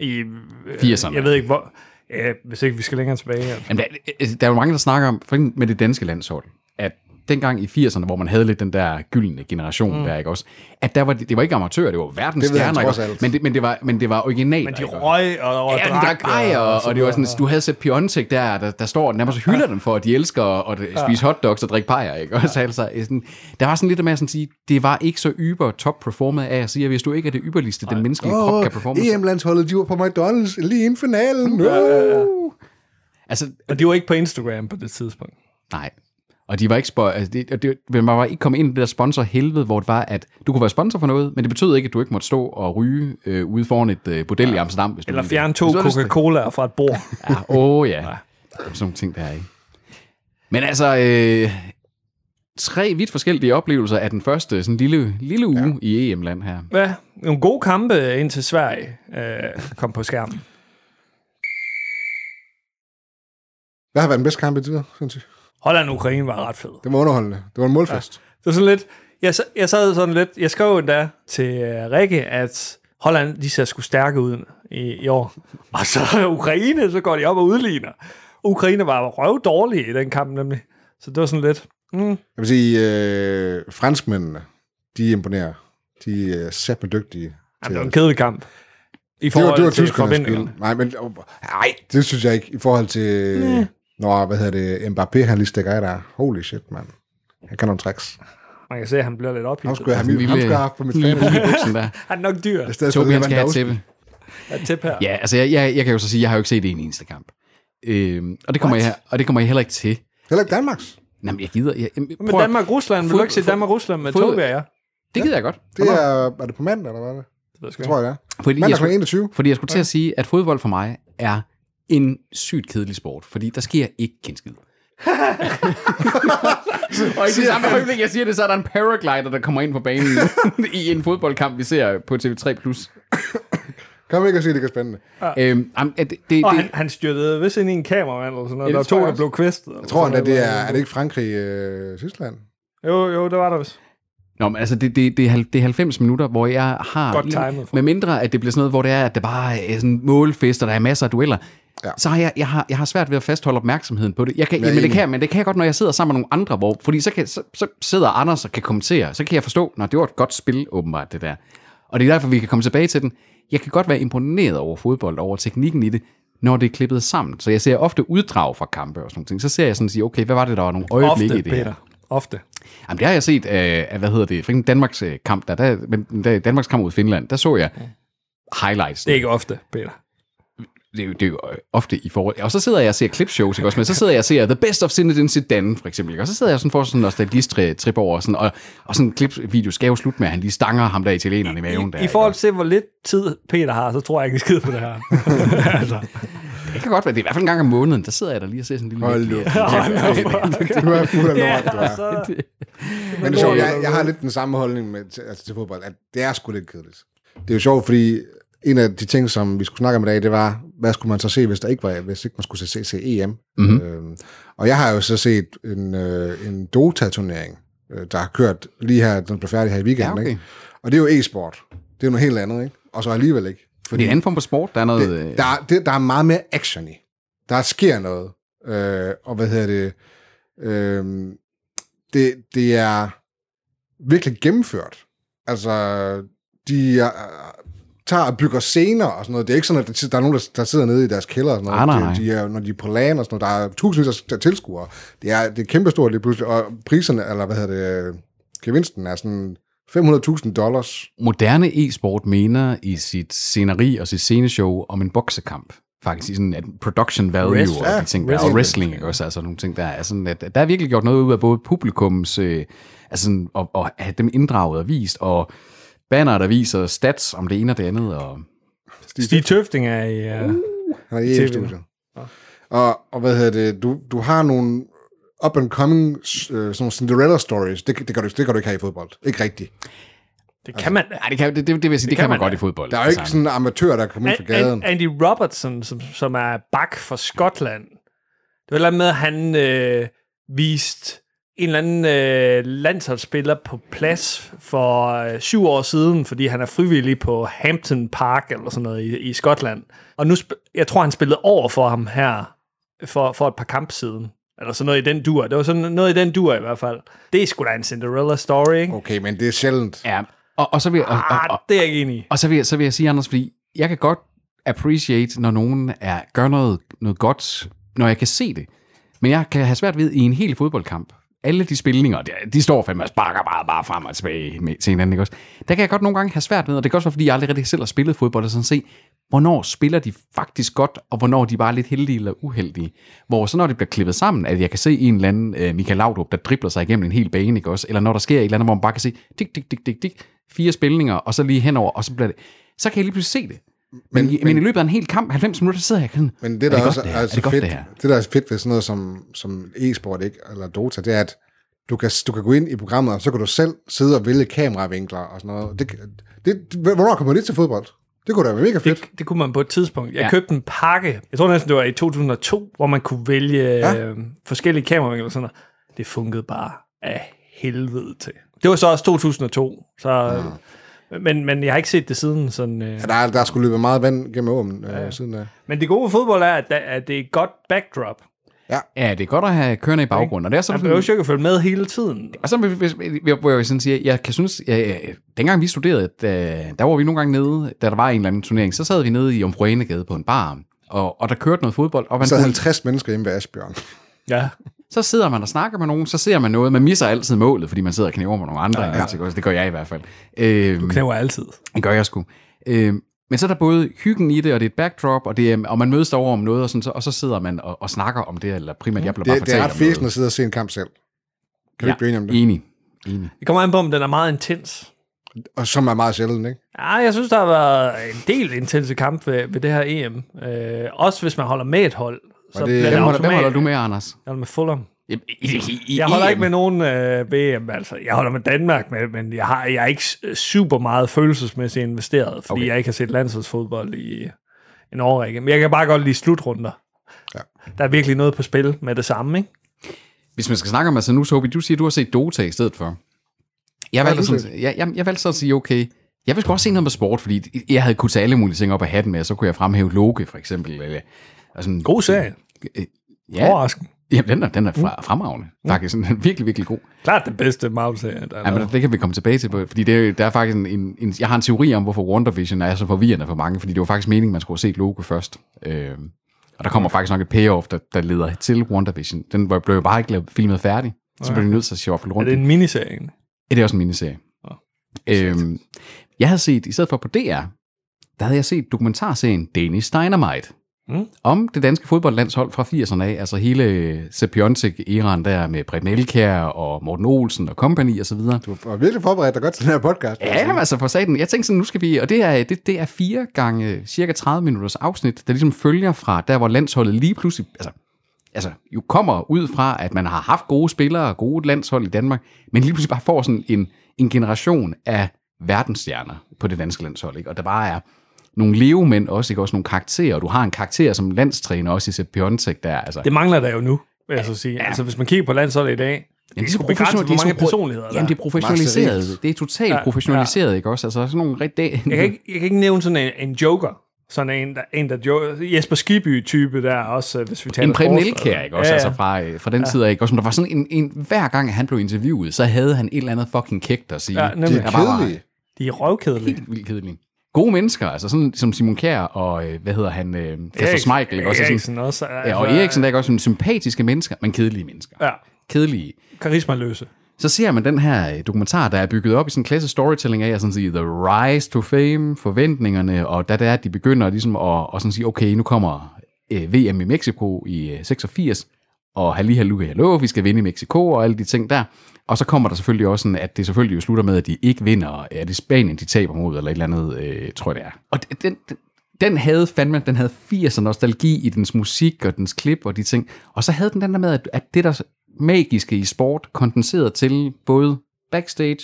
Speaker 1: I, øh,
Speaker 3: 80'erne.
Speaker 1: Jeg ved ikke, hvor... Ja, hvis ikke vi skal længere tilbage. Altså.
Speaker 3: Jamen, der, der er jo mange, der snakker om, for eksempel med det danske landshold, at dengang i 80'erne, hvor man havde lidt den der gyldne generation mm. der, ikke også? At der var, det var ikke amatører, det var
Speaker 2: Det ved han
Speaker 3: verdensstjerner, ikke
Speaker 2: trods
Speaker 3: også?
Speaker 2: alt.
Speaker 3: Men det, men det var, men det var original.
Speaker 1: Men de røg og, og
Speaker 3: Ja, de drak bajer, og, og, det var sådan, at du havde set Piontek der, der, der står og nærmest hylder dem for, at de elsker at, at spise hotdogs og drikke bajer, ikke? Og så altså, eh, sådan, der var sådan lidt med at sådan sige, det var ikke så yber top performet af at sige, at hvis du ikke er det yberligste, den menneskelige krop kan
Speaker 2: Åh,
Speaker 3: performe.
Speaker 2: EM-landsholdet, E de var på McDonald's lige inden finalen. Uh.
Speaker 3: Altså,
Speaker 1: og de var ikke på Instagram på det tidspunkt.
Speaker 3: Nej. Og de var ikke spor, altså det, og det, man var ikke kommet ind i det der sponsorhelvede, hvor det var, at du kunne være sponsor for noget, men det betød ikke, at du ikke måtte stå og ryge øh, ude foran et øh, bordel i Amsterdam. Hvis
Speaker 1: Eller
Speaker 3: du ville det.
Speaker 1: fjerne to
Speaker 3: Hvis du havde lyst til-
Speaker 1: Coca-Colaer fra et bord.
Speaker 3: Ja, åh oh, ja. Sådan nogle ting der, ikke? Men altså, øh, tre vidt forskellige oplevelser af den første sådan lille, lille uge ja. i EM-land her.
Speaker 1: Ja, nogle gode kampe ind til Sverige øh, kom på skærmen.
Speaker 2: Hvad har været den bedste kamp i tider, synes jeg?
Speaker 1: Holland og Ukraine var ret fed.
Speaker 2: Det var underholdende. Det var en målfest. Ja.
Speaker 1: Det var sådan lidt, jeg, sa- jeg sad sådan lidt, jeg skrev endda til øh, Rikke, at Holland, de ser sgu stærke ud i, i år. Og så Ukraine, så går de op og udligner. Ukraine var røv dårlige i den kamp nemlig. Så det var sådan lidt, mm,
Speaker 2: Jeg vil sige, øh, franskmændene, de imponerer. De er sæt dygtige.
Speaker 1: jamen, det var en
Speaker 2: at-
Speaker 1: kedelig kamp. I
Speaker 2: det var,
Speaker 1: forhold
Speaker 2: det var
Speaker 1: til
Speaker 2: tyskernes
Speaker 1: forventningerne.
Speaker 2: skyld. Nej, men nej, det synes jeg ikke. I forhold til, mm. når, hvad hedder det, Mbappé, han lige stikker af der. Holy shit, mand. Han kan nogle tricks.
Speaker 1: Man kan se, at han bliver lidt
Speaker 2: Ham
Speaker 1: ophidset.
Speaker 2: skulle jeg have, ham skulle jeg have haft på mit
Speaker 3: lille
Speaker 2: fantasy.
Speaker 3: buk i buksen der.
Speaker 1: Han er nok dyr
Speaker 2: I stedet for
Speaker 3: Tobi,
Speaker 2: det,
Speaker 3: han
Speaker 2: der
Speaker 3: skal have et
Speaker 2: Lewandowski.
Speaker 3: tæppe.
Speaker 1: at tæppe her.
Speaker 3: Ja, altså, jeg, jeg, jeg kan jo så sige, jeg har jo ikke set en eneste kamp. Øhm, og, det kommer jeg, og det kommer jeg heller ikke til.
Speaker 2: Heller ikke Danmarks.
Speaker 3: Nå, men jeg gider... Jeg, jamen,
Speaker 1: Men
Speaker 3: prøv at-
Speaker 1: Danmark-Rusland, vil
Speaker 3: Fod-
Speaker 1: du ikke se
Speaker 3: fod-
Speaker 1: Danmark-Rusland med
Speaker 3: fod-
Speaker 1: Tobi og jeg?
Speaker 3: Det gider jeg godt.
Speaker 2: Det er, er det på mandag, eller hvad er det?
Speaker 1: Det ved jeg sgu
Speaker 2: Det
Speaker 1: ikke.
Speaker 2: tror jeg, det er.
Speaker 3: Fordi
Speaker 2: Mandag
Speaker 3: jeg
Speaker 2: kl.
Speaker 3: skulle,
Speaker 2: 21.
Speaker 3: fordi jeg skulle til at sige, at fodbold for mig er en sygt kedelig sport, fordi der sker ikke kendskid. og i det samme øjeblik, jeg siger det, så er der en paraglider, der kommer ind på banen i en fodboldkamp, vi ser på TV3+.
Speaker 2: Kom ikke og sige, det ikke er spændende.
Speaker 3: Øhm, jamen, at det, det,
Speaker 1: Og
Speaker 3: det,
Speaker 1: han, han styrtede vist ind i en kameramand eller sådan noget.
Speaker 3: Ja,
Speaker 1: Ja, der
Speaker 3: det
Speaker 1: var
Speaker 3: tror
Speaker 1: to,
Speaker 3: jeg
Speaker 1: der blev kvæstet.
Speaker 2: Jeg tror endda, det er, er det ikke Frankrig, øh, Tyskland?
Speaker 1: Jo, jo, det var der vist.
Speaker 3: Nå, men altså, det, det, det, er hal- det er 90 minutter, hvor jeg har...
Speaker 1: Godt timet, for-
Speaker 3: Med mindre, at det bliver sådan noget, hvor det er, at der bare er sådan målfest, og der er masser af dueller. Ja.
Speaker 2: Ja.
Speaker 3: Så har jeg, jeg, har, jeg har svært ved at fastholde opmærksomheden på det. Jeg kan,
Speaker 2: Jeg er
Speaker 3: jamen, det
Speaker 2: enig.
Speaker 3: kan, jeg, men det kan jeg godt, når jeg sidder sammen med nogle andre, hvor, fordi så, kan, så, så sidder Anders og kan kommentere. Så kan jeg forstå, når det var et godt spil, åbenbart, det der. Og det er derfor, vi kan komme tilbage til den. Jeg kan godt være imponeret over fodbold, over teknikken i det, når det er klippet sammen. Så jeg ser ofte uddrag fra kampe og sådan nogle ting. Så ser jeg sådan og siger, okay, hvad var det, der var nogle øjeblikke
Speaker 1: Ofte,
Speaker 3: i det her?
Speaker 1: Peter. Ofte.
Speaker 3: Jamen, det har jeg set øh, af, af hvad hedder det, for eksempel Danmarks øh, kamp, der, der, men der, Danmarks kamp mod Finland, der så jeg highlights.
Speaker 1: Det er
Speaker 3: Det,
Speaker 1: ikke ofte, Peter.
Speaker 3: det, er jo- det er jo øh, ofte i forhold... Og så sidder jeg og ser clipshows, ikke også? Men så sidder jeg og ser The Best of Zinedine Zidane, for eksempel, ikke? Og så sidder jeg sådan for sådan en nostalgistrip over, sådan, og, og sådan en klipsvideo skal jo slutte med, at han lige stanger ham der italieneren i maven. der,
Speaker 1: I
Speaker 3: ikke
Speaker 1: forhold
Speaker 3: også?
Speaker 1: til, hvor lidt tid Peter har, så tror jeg ikke, en skid på det her. altså,
Speaker 3: Det kan godt være, det er i hvert fald en gang om måneden, der sidder jeg der lige og ser sådan en lille... øh,
Speaker 2: Hold nu. Du er fuld af lort, du er.
Speaker 1: så,
Speaker 2: Men det er sjovt, jeg, jeg har lidt den samme holdning med, til, altså til fodbold, at det er sgu lidt kedeligt. Det er jo sjovt, fordi en af de ting, som vi skulle snakke om i dag, det var, hvad skulle man så se, hvis der ikke var, hvis ikke man skulle E se, se EM. Mm-hmm. Øhm, og jeg har jo så set en, øh, en Dota-turnering, øh, der har kørt lige her, den blev færdig her i weekenden.
Speaker 3: Ja,
Speaker 2: Ja,
Speaker 3: okay.
Speaker 2: okay. ikke? Og det er jo e-sport. Det er jo noget helt andet, ikke? Og så alligevel ikke.
Speaker 3: Det er en anden form for sport. Der er noget... øh,
Speaker 2: det, der, er- det, der er meget mere action i. Der sker noget. Øh, og hvad hedder det? Øh, det? Det er virkelig gennemført. Altså, de er, tager og bygger scener og sådan noget. Det er ikke sådan, at der, der er nogen, der, der sidder nede i deres kælder og sådan noget.
Speaker 3: Ah, Nej, nej, nej.
Speaker 2: De, de er, når de er på land og sådan noget. Der er tusindvis af- af tilskuere. Det er, det er kæmpestort lige pludselig. Og priserne, eller hvad hedder det, øh, gevinsten er sådan 500.000 dollars.
Speaker 3: moderne e-sport mener i sit sceneri og sit sceneshow om en boksekamp. Faktisk i sådan at production value
Speaker 1: Wrestling.
Speaker 3: og de ting der, og
Speaker 1: Wrestling.
Speaker 3: wrestling, ikke også? Altså nogle ting, der er sådan, at der er virkelig gjort noget ud af både publikums, øh, altså sådan, og, og have dem inddraget og vist, og banner, der viser stats om det ene og det andet, og
Speaker 1: Stig Tøfting er i... Uh,
Speaker 2: Han er i E EM-studiet. Og, og hvad hedder det, du, du har nogle up and coming øh, sådan nogle Cinderella stories. Det, det, gør du, det gør du ikke her i fodbold. Ikke rigtigt.
Speaker 1: det kan man...
Speaker 3: ja, det, kan, det, det, det vil jeg sige, det, det kan man, godt i fodbold. altså.
Speaker 2: Der er jo ikke sådan en amatør, der kommer ind fra gaden.
Speaker 1: An- Andy Robertson, som, som er bak for Skotland. Det var et eller andet med, at han øh, viste en eller anden øh, landsholdsspiller på plads for øh, syv år siden, fordi han er frivillig på Hampton Park eller sådan noget i, i Skotland. Og nu, sp- jeg tror, han spillede over for ham her for, for et par kamp siden. Eller sådan noget i den dur. Det var sådan noget i den dur i hvert fald. Det er sgu da en Cinderella story, ikke?
Speaker 2: Okay, men det er sjældent.
Speaker 3: Ja, og, og så vil jeg... Og, og,
Speaker 1: Ah, det er jeg ikke enig i.
Speaker 3: Og så vil, jeg, så vil jeg sige, Anders, fordi jeg kan godt appreciate, når nogen er, gør noget, noget godt, når jeg kan se det. Men jeg kan have svært ved i en hel fodboldkamp, alle de spilninger, de, de står fandme og sparker bare, bare frem og tilbage med, til hinanden, ikke også? Der kan jeg godt nogle gange have svært ved, og det kan også være, fordi jeg aldrig rigtig selv har spillet fodbold, og sådan se, hvornår spiller de faktisk godt, og hvornår de bare er lidt heldige eller uheldige. Hvor så når det bliver klippet sammen, at jeg kan se en eller anden øh, Michael Laudrup, der dribler sig igennem en hel bane, ikke også? Eller når der sker et eller andet, hvor man bare kan se, dik, dik, dik, dik, dik, fire spilninger, og så lige henover, og så bliver det... Så kan jeg lige pludselig se det. Men, men, i, men i løbet af en hel kamp, 90 minutter, sidder jeg sådan,
Speaker 2: Men det,
Speaker 3: er
Speaker 2: der
Speaker 3: det
Speaker 2: også
Speaker 3: godt, det
Speaker 2: er,
Speaker 3: her?
Speaker 2: er, så
Speaker 3: er det godt,
Speaker 2: fedt,
Speaker 3: det her?
Speaker 2: det, der er fedt ved sådan noget som, som e-sport, ikke, eller Dota, det er, at du kan, du kan gå ind i programmet, og så kan du selv sidde og vælge kameravinkler og sådan noget. Det, det, det, hvornår kommer det til fodbold? Det kunne da være mega fedt.
Speaker 1: Det, det kunne man på et tidspunkt. Jeg
Speaker 3: Ja.
Speaker 1: ja. købte en pakke, jeg tror næsten det var i 2002, hvor man kunne vælge ja. øh, forskellige kameravinkler og sådan noget. Det funkede bare af helvede til. Det var så også 2002, så... Ja. Men, men jeg har ikke set det siden. Sådan, øh.
Speaker 2: Ja, der, er, der er sgu løbet meget vand gennem åben øh, ja. siden da.
Speaker 1: Men det gode ved fodbold er, at, der- at det er et godt backdrop.
Speaker 3: Ja, det er godt at have kørende i baggrunden. Og det er sådan,
Speaker 1: Man behøver jo ikke at følge med hele tiden.
Speaker 3: Og så vil- hvis- vil- hvor jeg sådan siger, jeg kan synes, jeg, jeg- dengang vi studerede, da, der var vi nogle gange nede, da der var en eller anden turnering, så sad vi nede i Omfruenegade på en bar, og, og der kørte noget fodbold, og man
Speaker 2: Så
Speaker 3: kunne,
Speaker 2: 50 mennesker hjemme ved Asbjørn.
Speaker 1: Ja.
Speaker 3: så sidder man og snakker med nogen, så ser man noget, man misser altid målet, fordi man sidder og knæver med nogle andre, ja, ja. det gør jeg i hvert fald. Øhm,
Speaker 1: Knæver altid.
Speaker 3: det gør jeg sgu. Øhm, men så er der både hyggen i det, og det er et backdrop, og, det, er- og man mødes derovre om noget, og, sådan, så, og så sidder man og, og snakker om det, eller primært, jeg bliver bare
Speaker 2: Det, det er
Speaker 3: fortalt
Speaker 2: ret
Speaker 3: om noget.
Speaker 2: fæsende at sidde og se en kamp selv. Kan vi ikke blive enige om det?
Speaker 3: Enig. Enig.
Speaker 1: Det kommer an på, om den er meget intens.
Speaker 2: Og som er meget sjældent, ikke?
Speaker 1: Ja, jeg synes, der har været en del intense kamp ved, ved det her EM. Øh, også hvis man holder med et hold. Så
Speaker 2: det-
Speaker 1: bliver
Speaker 2: Hvem
Speaker 3: Hvem holder, hvem
Speaker 1: automat-
Speaker 3: holder du med, Anders?
Speaker 1: Jeg holder med Fulham.
Speaker 3: I, i, i,
Speaker 1: Jeg holder
Speaker 3: EM.
Speaker 1: ikke med nogen øh, VM, altså. Jeg holder med Danmark, men, men jeg, har, jeg er ikke s- øh, super meget følelsesmæssigt investeret, fordi
Speaker 3: Okay.
Speaker 1: okay. jeg ikke har set landsholdsfodbold i en årrække. Men jeg kan bare godt lide slutrunder.
Speaker 2: Ja.
Speaker 1: Der er virkelig noget på spil med det samme, ikke?
Speaker 3: Hvis man skal snakke om, altså nu, Tobi, du siger, at du har set Dota i stedet for. Jeg valgte,
Speaker 2: du
Speaker 3: sådan, jeg, jeg, jeg valgte så at sige, okay, jeg vil sgu også se noget med sport, fordi jeg havde kunnet tage alle mulige ting op af hatten med, og så kunne jeg fremhæve Loke, for eksempel. Eller, og sådan,
Speaker 1: God serie. Ja.
Speaker 3: ja,
Speaker 1: Overraskende.
Speaker 3: jamen, den er, den er fra, fremragende, faktisk. Sådan, den er virkelig, virkelig god.
Speaker 1: Klart den bedste Marvel-serie, der er
Speaker 3: Ja, men
Speaker 1: lavet.
Speaker 3: det kan vi komme tilbage til, på- fordi det, er jo- der er faktisk en, en, en, jeg har en teori om, hvorfor Wonder Vision er så forvirrende for mange, fordi det var faktisk meningen, man skulle have set Loke først. Øh, og der kommer faktisk nok et payoff, der, der leder til Wonder Vision. Den var- blev jo bare ikke lavet, filmet færdig, så blev de nødt til at shuffle
Speaker 1: Er
Speaker 3: rundt.
Speaker 1: det en miniserie? egentlig?
Speaker 3: Ja, det er også en miniserie.
Speaker 1: Nå.
Speaker 3: Øhm, jeg havde set, i stedet for på DR, der havde jeg set dokumentarserien Danish Dynamite.
Speaker 1: Mm.
Speaker 3: Om det danske fodboldlandshold fra 80'erne af, altså hele Sepp Jonsik-eraen der med Preben Elkjær og Morten Olsen og company og så videre.
Speaker 2: Du har virkelig forberedt dig godt til den her podcast.
Speaker 3: Ja, jamen, altså for satan. Jeg tænkte sådan, nu skal vi... Og det er, det, det er fire gange øh, cirka 30 minutters afsnit, der ligesom følger fra der, hvor landsholdet lige pludselig... Altså, altså jo kommer ud fra, at man har haft gode spillere og gode landshold i Danmark, men lige pludselig bare får sådan en, en generation af verdensstjerner på det danske landshold. Ikke? Og der bare er nogle levemænd også, ikke? også nogle karakterer, og du har en karakter som landstræner også i Sepp Piontek, der er altså...
Speaker 1: Det mangler der jo nu, vil jeg så sige. Altså, hvis man kigger på landsholdet i dag,
Speaker 3: Jamen,
Speaker 1: sgu begrænset, hvor mange personligheder der
Speaker 3: Jamen, det
Speaker 1: er.
Speaker 3: er professionaliseret.
Speaker 2: Marcel.
Speaker 3: Det er totalt
Speaker 1: Ja,
Speaker 3: ja, professionaliseret, ja. ikke også? Altså, sådan nogle rigtig...
Speaker 1: Jeg kan, ikke, jeg kan ikke nævne sådan en, en joker. Sådan en, der, en der jo, Jesper Skiby-type der også, øh, hvis vi taler
Speaker 3: en Preben
Speaker 1: forspil.
Speaker 3: Elkjær, ikke også? Ja, ja. Altså fra, øh, fra den ja. tid af, ikke også? Men der var sådan en, en... Hver gang han blev interviewet, så havde han et eller andet fucking kægt at sige.
Speaker 1: Ja,
Speaker 3: Ja,
Speaker 1: nemlig.
Speaker 2: De
Speaker 1: Det
Speaker 2: er
Speaker 1: er
Speaker 2: kedelige.
Speaker 1: De er røvkedelige.
Speaker 3: helt vildt kedelige. Gode mennesker, altså sådan som Simon Kjær og, øh, hvad hedder han, øh, Kasper Smeichel, ikke også? Og sådan-
Speaker 1: Eriksen også. Altså,
Speaker 3: Ja, og Eriksen der er ikke også sådan sympatiske mennesker, men kedelige mennesker.
Speaker 1: Ja,
Speaker 3: Kedelige.
Speaker 1: karismaløse.
Speaker 3: Så ser man den her øh, dokumentar, der er bygget op i sådan en klasse storytelling af, at sådan sige, the rise to fame, forventningerne, og da det er, at de begynder ligesom at, at sådan sige, okay, nu kommer øh, VM i Mexico i øh, 86, og halli hallo hallo, vi skal vinde i Mexico, og alle de ting der. Og så kommer der selvfølgelig også sådan, at det selvfølgelig jo slutter med, at de ikke vinder, er det Spanien, de taber mod, eller et eller andet, øh, tror jeg det er. Og d- den, den, den havde fandme, den havde 80'er nostalgi i dens musik og dens klip og de ting. Og så havde den den der med, at, at det der magiske i sport kondenseret til både backstage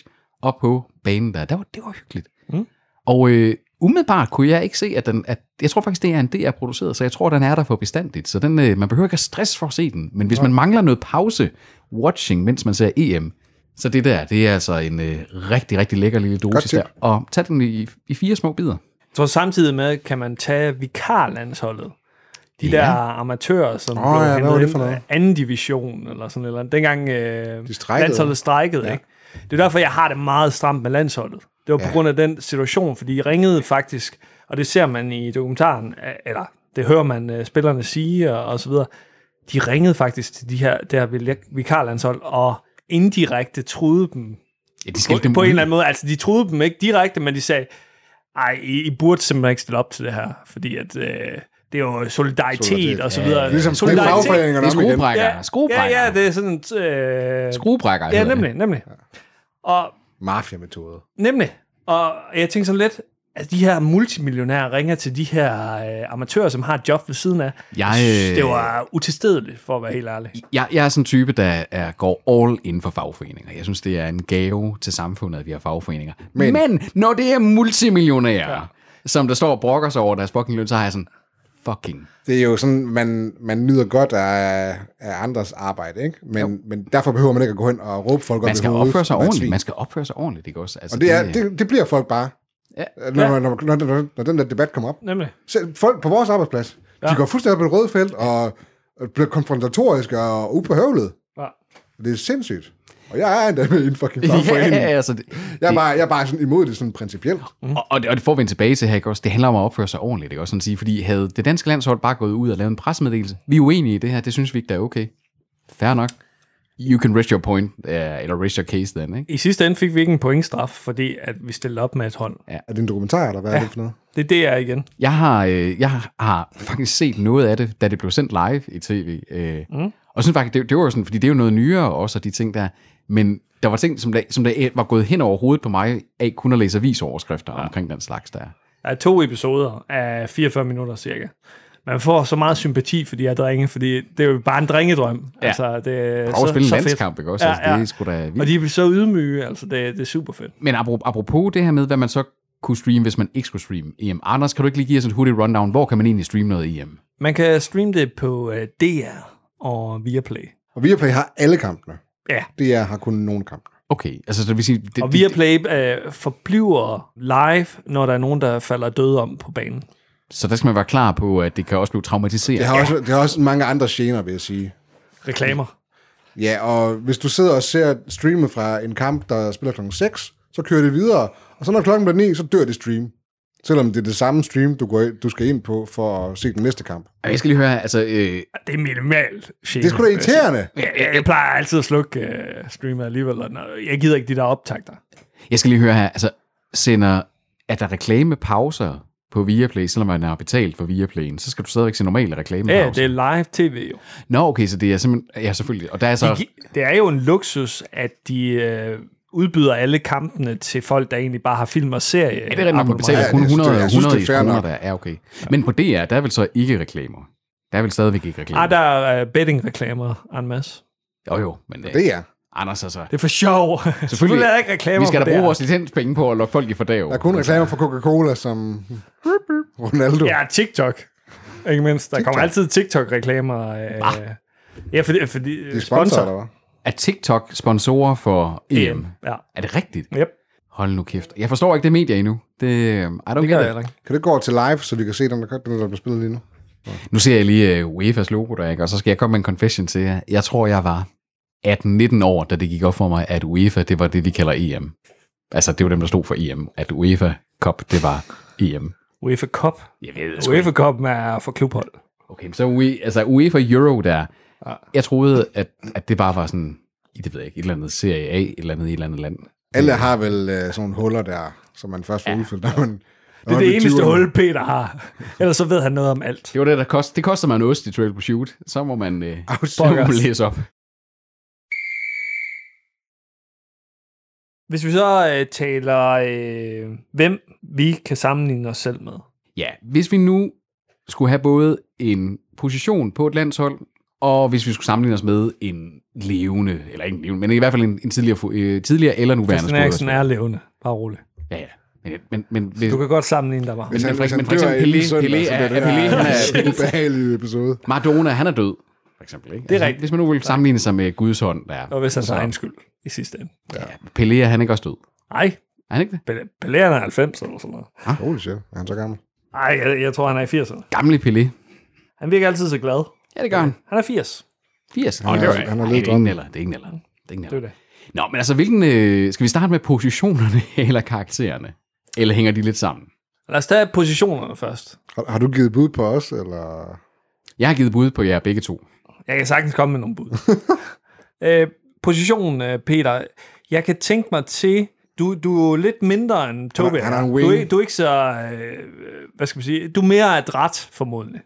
Speaker 3: og på banen der. Det var, det var hyggeligt.
Speaker 1: Mm.
Speaker 3: Og øh, umiddelbart kunne jeg ikke se, at den... At, jeg tror faktisk, det er en DR-produceret, så jeg tror, den er der for bestandigt. Så den, øh, man behøver ikke at stress for at se den. Men hvis man mangler noget pause watching, mens man ser EM, så det der, det er altså en øh, rigtig, rigtig lækker lille dosis der.
Speaker 2: tip.
Speaker 3: Og tag den i, i fire små bidder.
Speaker 1: Jeg tror samtidig med, kan man tage vikarlandsholdet. De
Speaker 3: Ja.
Speaker 1: ja. der amatører, som
Speaker 2: Åh,
Speaker 1: oh, blev
Speaker 2: ja, hvad
Speaker 1: ja,
Speaker 2: var det
Speaker 1: hentet
Speaker 2: for
Speaker 1: ind
Speaker 2: noget?
Speaker 1: af anden division, eller sådan et eller andet. Dengang øh,
Speaker 2: strejkede.
Speaker 1: landsholdet strejkede, ja. ikke? Det er derfor, jeg har det meget stramt med landsholdet. Det var på
Speaker 2: Ja.
Speaker 1: grund af den situation, fordi de ringede faktisk, og det ser man i dokumentaren, øh, eller det hører man øh, spillerne sige, og, og så videre. De ringede faktisk til de her, det her vil- vikarlandshold, og indirekte truede dem
Speaker 3: Ja, de
Speaker 1: på,
Speaker 3: skældte dem
Speaker 1: på en
Speaker 3: ud.
Speaker 1: eller anden måde. Altså, de troede dem ikke direkte, men de sagde, ej, I, I burde simpelthen ikke stille op til det her, fordi at, øh, det er jo solidaritet,
Speaker 2: Solidaritet.
Speaker 1: og så videre.
Speaker 2: Ligesom det er
Speaker 1: solidaritet.
Speaker 2: fagforeningerne
Speaker 3: Det er
Speaker 2: om igen.
Speaker 3: skruebrækker.
Speaker 1: Ja,
Speaker 3: Ja. Skruebrækker.
Speaker 1: ja, ja, det er sådan... Øh,
Speaker 3: Skruebrækker.
Speaker 1: ja,
Speaker 3: hedder det.
Speaker 1: nemlig, nemlig. Og
Speaker 2: Mafia-metode.
Speaker 1: Nemlig. Og jeg tænkte sådan lidt, at de her multimillionærer ringer til de her øh, amatører, som har et job ved siden af.
Speaker 3: Jeg, øh,
Speaker 1: Det var utilstedeligt, for at være helt ærlig.
Speaker 3: Jeg, jeg er sådan en type, der er, går all in for fagforeninger. Jeg synes, det er en gave til samfundet, at vi har fagforeninger. Men, Men når det er multimillionærer, ja. som der står og brokker sig over deres fucking løn, så har jeg sådan, fucking.
Speaker 2: Det er jo sådan, man, man nyder godt af, af andres arbejde, ikke? Men, men derfor behøver man ikke at gå hen og råbe folk op
Speaker 3: Man
Speaker 2: i
Speaker 3: skal
Speaker 2: hovedet,
Speaker 3: opføre sig
Speaker 2: som er et
Speaker 3: ordentligt.
Speaker 2: svin.
Speaker 3: Man skal opføre sig ordentligt, ikke også? Altså,
Speaker 2: Og det, er, det, det bliver folk bare.
Speaker 3: Ja.
Speaker 2: Når, når, når, når, når den der debat kommer op.
Speaker 1: Nemlig.
Speaker 2: Selv folk på vores arbejdsplads, ja. de går fuldstændig på det røde felt og bliver konfrontatoriske og ubehøvlede.
Speaker 1: Ja.
Speaker 2: Det er sindssygt. Og jeg er endda med i en fucking fagforening.
Speaker 3: Ja,
Speaker 2: ja, ja.
Speaker 3: altså, det,
Speaker 2: Jeg, er bare, jeg er bare sådan imod det sådan principielt.
Speaker 3: Mm-hmm. Og, og, det, og det får vi en tilbage til her, ikke også? Det handler om at opføre sig ordentligt, ikke også? Sådan at sige, fordi havde det danske landshold bare gået ud og lavet en pressemeddelelse, vi er uenige i det her, det synes vi ikke, der er okay. Fair nok. You can rest your point, uh, eller rest your case then, ikke?
Speaker 1: I sidste ende fik vi ikke en pointstraf, fordi at vi stillede op med et hånd.
Speaker 2: Er det en dokumentar, eller hvad ja. er det for noget?
Speaker 1: Det er det, jeg er igen.
Speaker 3: Jeg har, øh, jeg har faktisk set noget af det, da det blev sendt live i tv. Øh,
Speaker 1: Mm-hmm.
Speaker 3: mm. Og synes faktisk, det, det var jo sådan, fordi det er jo noget nyere også, og de ting der. Men der var ting, som der, som der var gået hen over hovedet på mig, af kun at læse avisoverskrifter ja. omkring den slags der.
Speaker 1: Der er to episoder af 44 minutter cirka. Man får så meget sympati for de her drenge, fordi det er jo bare en drengedrøm. Ja. Altså, det er
Speaker 3: Og
Speaker 1: så,
Speaker 3: at spille en
Speaker 1: så fedt.
Speaker 3: landskamp, ikke også?
Speaker 1: Ja,
Speaker 3: Ja, altså, det
Speaker 1: ja.
Speaker 3: er sgu da
Speaker 1: Og
Speaker 3: vildt.
Speaker 1: de er så ydmyge, altså det, det er super fedt.
Speaker 3: Men apro- apropos det her med, hvad man så kunne streame, hvis man ikke skulle streame EM. Anders, kan du ikke lige give os en hurtig rundown? Hvor kan man egentlig streame noget E EM?
Speaker 1: Man kan streame det på øh, DR og Viaplay.
Speaker 2: Og Viaplay har alle kampene.
Speaker 1: Ja,
Speaker 2: DR har kun nogle kampe.
Speaker 3: Okay, altså så det vil sige... Det,
Speaker 1: og
Speaker 3: det-
Speaker 1: Viaplay øh, forbliver live, når der er nogen, der falder døde om på banen.
Speaker 3: så der skal man være klar på, at det kan også blive traumatiseret.
Speaker 2: Det har, også, det har også mange andre gener, vil jeg sige.
Speaker 1: Reklamer.
Speaker 2: Ja, og hvis du sidder og ser streamet fra en kamp, der spiller klokken 6, så kører det videre, og så når klokken bliver 9, så dør det stream. Selvom det er det samme stream, du, går, du skal ind på for at se den næste kamp.
Speaker 3: Jeg skal lige høre, altså... Øh,
Speaker 1: Det er minimalt.
Speaker 2: Det er sgu da irriterende.
Speaker 1: Jeg, jeg, jeg plejer altid at slukke øh, streamet alligevel, og når- jeg gider ikke de der optagter.
Speaker 3: Jeg skal lige høre her, altså sender, er der reklamepauser på Viaplay, selvom man har betalt for Viaplayen, så skal du stadigvæk se normale reklamepauser.
Speaker 1: Ja, det er live tv jo.
Speaker 3: Nå, okay, så det er simpelthen, ja selvfølgelig, og der er så,
Speaker 1: De, gi- det er jo en luksus, at de øh, udbyder alle kampene til folk, der egentlig bare har film og serie.
Speaker 3: ja, det er rent nok, man betaler
Speaker 2: Ja, det
Speaker 3: kun
Speaker 2: synes jeg-
Speaker 3: 100,
Speaker 2: jeg synes, det er
Speaker 3: 100
Speaker 2: fair
Speaker 3: kroner,
Speaker 2: nok.
Speaker 3: der er okay. Men på DR, der er vel så ikke reklamer. Der er vel stadigvæk ikke reklamer.
Speaker 1: Ah, der er øh, bettingreklamer, en masse.
Speaker 3: Jo jo, men det,
Speaker 2: Det er.
Speaker 3: Anders altså,
Speaker 1: Det er for sjov. Selvfølgelig, Selvfølgelig er der ikke reklamer
Speaker 3: vi skal
Speaker 1: på
Speaker 3: da bruge
Speaker 1: DR.
Speaker 3: vores licenspenge på at lokke folk i fordav.
Speaker 2: Der er kun reklamer for Coca-Cola som Ronaldo.
Speaker 1: Ja, TikTok. Ikke mindst. Der TikTok. kommer altid TikTok-reklamer. Øh, ja, fordi, fordi
Speaker 2: De er sponsorer, der var.
Speaker 3: Er TikTok sponsorer for EM?
Speaker 1: EM.
Speaker 3: EM.
Speaker 1: E Ja.
Speaker 3: Er det rigtigt?
Speaker 1: Yep.
Speaker 3: Hold nu kæft. Jeg forstår ikke det medie endnu. Det, øh, I don't det
Speaker 1: Det gør
Speaker 3: get
Speaker 1: jeg
Speaker 3: it.
Speaker 1: heller ikke.
Speaker 2: Kan du gå over til live, så vi kan se den, der, den, der bliver spillet lige nu?
Speaker 3: Nu ser jeg lige uh, UEFA's logo der, ikke? og så skal jeg komme med en confession til jer. Jeg tror, jeg var 18-19 år, da det gik op for mig, at UEFA, det var det, vi kalder EM. Altså, det var dem, der stod for EM. At UEFA Cup, det var E EM.
Speaker 1: UEFA Cup.
Speaker 3: Jeg ved det
Speaker 1: UEFA Cup er for klubhold.
Speaker 3: Okay, men så UE, altså UEFA Euro der. Jeg troede, at, at det bare var sådan, det ved jeg ikke, et eller andet Serie A, et eller andet, et eller andet land.
Speaker 2: Alle har vel øh, sådan nogle huller der, som man først får ja. udfyldt, når man...
Speaker 1: Det er det eneste hul, Peter har. Ellers så ved han noget om alt.
Speaker 3: Det var det, der kost, det koster mig en ost i Trail Pursuit. Så må man, øh,
Speaker 1: Ah,
Speaker 2: Au,
Speaker 3: så må man
Speaker 2: pokkers.
Speaker 3: læse op.
Speaker 1: Hvis vi så øh, taler, øh, hvem vi kan sammenligne os selv med.
Speaker 3: Ja, hvis vi nu skulle have både en position på et landshold, og hvis vi skulle sammenligne os med en levende, eller ikke en levende, men i hvert fald en, en tidligere, fu- øh, tidligere eller nuværende
Speaker 1: Christian Eriksen
Speaker 3: spiller.
Speaker 1: er levende. Bare rolig.
Speaker 3: Ja, ja. Men, men, men hvis,
Speaker 1: Du kan godt sammenligne dig bare.
Speaker 2: Hvis han,
Speaker 3: Men for-
Speaker 2: hvis han
Speaker 3: men for
Speaker 2: dør
Speaker 3: eksempel
Speaker 2: inden
Speaker 3: Pelé-
Speaker 2: søndag,
Speaker 3: Pelé
Speaker 2: så bliver
Speaker 3: er-
Speaker 2: det
Speaker 3: er Pelé, han er-
Speaker 2: en ubehagelig episode.
Speaker 3: Maradona, han er død, for eksempel. Ikke? Altså,
Speaker 1: Det er rigtigt.
Speaker 3: Hvis man nu vil sammenligne sig med Guds hånd, der er.
Speaker 1: Og hvis han så egen skyld i sidste ende.
Speaker 3: Ja, Pelé, er han ikke også død?
Speaker 1: Nej,
Speaker 3: Er han ikke det?
Speaker 1: Pelé han er 90 eller sådan noget.
Speaker 2: Holy shit, er han så gammel?
Speaker 1: Nej, jeg, jeg tror, han er i 80'erne.
Speaker 3: Gamle Pelé.
Speaker 1: Han virker altid så glad.
Speaker 3: Ja, det gør han.
Speaker 1: Han er 80.
Speaker 3: 80.
Speaker 2: er-
Speaker 3: Nå, det var-
Speaker 2: han har
Speaker 3: Ej,
Speaker 2: levet
Speaker 3: det er ingen
Speaker 2: drømmen.
Speaker 3: eller. Det er ingen eller. Det er ingen
Speaker 1: Det er
Speaker 3: eller.
Speaker 1: det.
Speaker 3: Nå, men altså, hvilken, øh, skal vi starte med positionerne eller karaktererne? Eller hænger de lidt sammen?
Speaker 1: Lad os tage positionerne først.
Speaker 2: Har, har du givet bud på os, eller...
Speaker 3: Jeg har givet bud på jer begge to.
Speaker 1: Jeg kan sagtens komme med nogle bud. øh, positionen, øh, Peter. Jeg kan tænke mig til... Du, du er jo lidt mindre end Tobi.
Speaker 2: han er en
Speaker 1: Du,
Speaker 2: wing.
Speaker 1: er ikke- du er ikke så... Øh, hvad skal man sige? Du er mere adræt, formodentlig.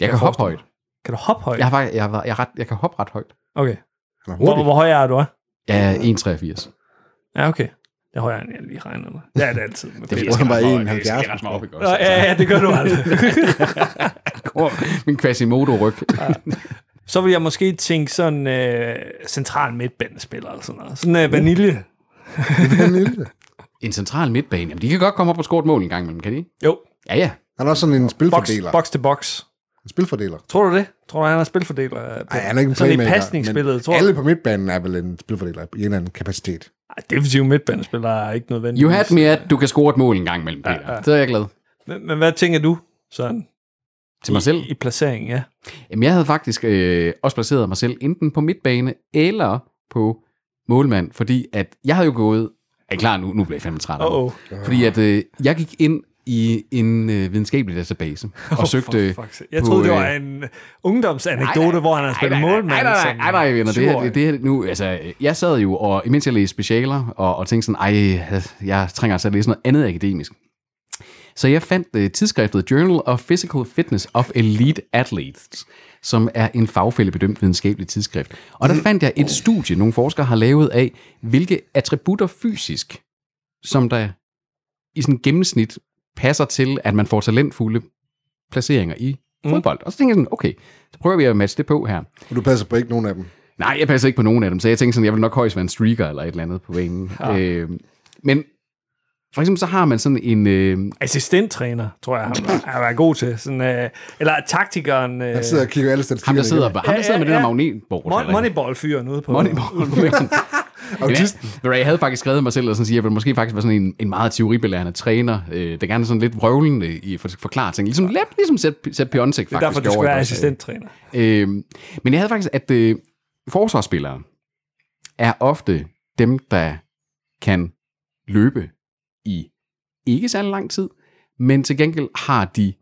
Speaker 3: Jeg kan hoppe højt.
Speaker 1: Kan du hoppe højt?
Speaker 3: Jeg, har, faktisk- jeg, har, jeg, har ret, jeg kan hoppe ret højt.
Speaker 1: Okay.
Speaker 2: Han er
Speaker 1: Hvor,
Speaker 2: hurtig.
Speaker 1: hvor høj er du? hva'?
Speaker 3: Jeg er 1,83.
Speaker 1: Ja, okay. Det er højere, end jeg lige regner med. Det er det altid. Med
Speaker 2: fordi,
Speaker 1: Peter.
Speaker 2: jeg skal bare 71
Speaker 3: ret mig op, ikke
Speaker 1: Nå, ja, ja, det gør du aldrig.
Speaker 3: Min Quasimodo-ryg.
Speaker 1: så vil jeg måske tænke sådan øh, central midtbanespiller eller sådan noget. Sådan
Speaker 2: Uh.
Speaker 1: øh, vanilje.
Speaker 2: Han er lille.
Speaker 3: En central midtbane. Jamen, de kan godt komme op og score et mål en gang imellem, kan de? ikke?
Speaker 1: Jo,
Speaker 3: Ja, ja.
Speaker 2: Han er også sådan en
Speaker 1: box,
Speaker 2: spilfordeler.
Speaker 1: box til box.
Speaker 2: En spilfordeler.
Speaker 1: Tror du det? Tror du, han er spilfordeler?
Speaker 2: Nej, han er ikke en
Speaker 1: Sådan i
Speaker 2: playmaker,
Speaker 1: pasningsspillet,
Speaker 2: men
Speaker 1: tror jeg.
Speaker 2: Alle på midtbanen er vel en spilfordeler i en eller anden kapacitet.
Speaker 1: Ej, defensive midtbanespillere er ikke nødvendigt.
Speaker 3: You had me at, du kan score et mål en gang imellem, Peter. Ja, ja. Så er jeg glad.
Speaker 1: men, men hvad tænker du sådan?
Speaker 3: Til mig selv?
Speaker 1: I, i placeringen, ja.
Speaker 3: Jamen, jeg havde faktisk øh, også placeret mig selv enten på midtbane eller på målmand, fordi at jeg havde jo gået... Er I klar nu? Nu bliver jeg fandme træt. af det.
Speaker 1: Åh, oh,
Speaker 3: Fordi at øh, jeg gik ind i en øh, videnskabelig database og oh, søgte...
Speaker 1: Jeg
Speaker 3: på,
Speaker 1: troede, det var
Speaker 3: øh,
Speaker 1: en ungdomsanekdote, hvor han har spillet målmand.
Speaker 3: Nej, nej, nej, nej, nej, nej venner. Det her,
Speaker 1: syvårig.
Speaker 3: det, det her nu, altså, jeg sad jo, og imens jeg læste specialer, og, og tænkte sådan, ej, jeg trænger altså at læse noget andet akademisk. Så jeg fandt uh, tidsskriftet Journal of Physical Fitness of Elite Athletes, som er en fagfællebedømt videnskabelig tidsskrift. Og
Speaker 1: Mm.
Speaker 3: der fandt
Speaker 1: Oh.
Speaker 3: jeg et studie, nogle forskere har lavet af, hvilke attributter fysisk, som der i sådan gennemsnit passer til, at man får talentfulde placeringer i
Speaker 1: Mm.
Speaker 3: fodbold. Og så tænkte jeg sådan, okay, så prøver vi at matche det på her.
Speaker 2: Og du passer på ikke nogen af dem.
Speaker 3: Nej, jeg passer ikke på nogen af dem, så jeg tænkte sådan, jeg vil nok højst være en streaker eller et eller andet på banen. Ja. Øh, men for eksempel så har man sådan en... Øh,
Speaker 1: Assistenttræner, tror jeg, han var, han var god til. Sådan, øh, eller taktikeren... Øh,
Speaker 2: Han sidder og kigger alle statistikker.
Speaker 3: ham, der sidder, ham, der sidder med
Speaker 1: ja,
Speaker 3: den der
Speaker 1: ja.
Speaker 3: magnetbord.
Speaker 1: Mon-
Speaker 3: eller-
Speaker 1: Moneyball-fyren ude på...
Speaker 3: Moneyball.
Speaker 2: Autisten.
Speaker 3: Men jeg, jeg havde faktisk skrevet mig selv og sådan sige, at jeg ville måske faktisk være sådan en, en meget teoribelærende træner, øh, der gerne er sådan lidt vrøvlende i at for- forklare ting. Ligesom, lidt ligesom Sepp Sepp Piontek faktisk.
Speaker 1: Det er derfor, du skal
Speaker 3: gjorde,
Speaker 1: være
Speaker 3: ikke også?
Speaker 1: assistenttræner.
Speaker 3: Øh, men jeg havde faktisk, at øh, forsvarsspillere er ofte dem, der kan løbe i ikke særlig lang tid, men til gengæld har de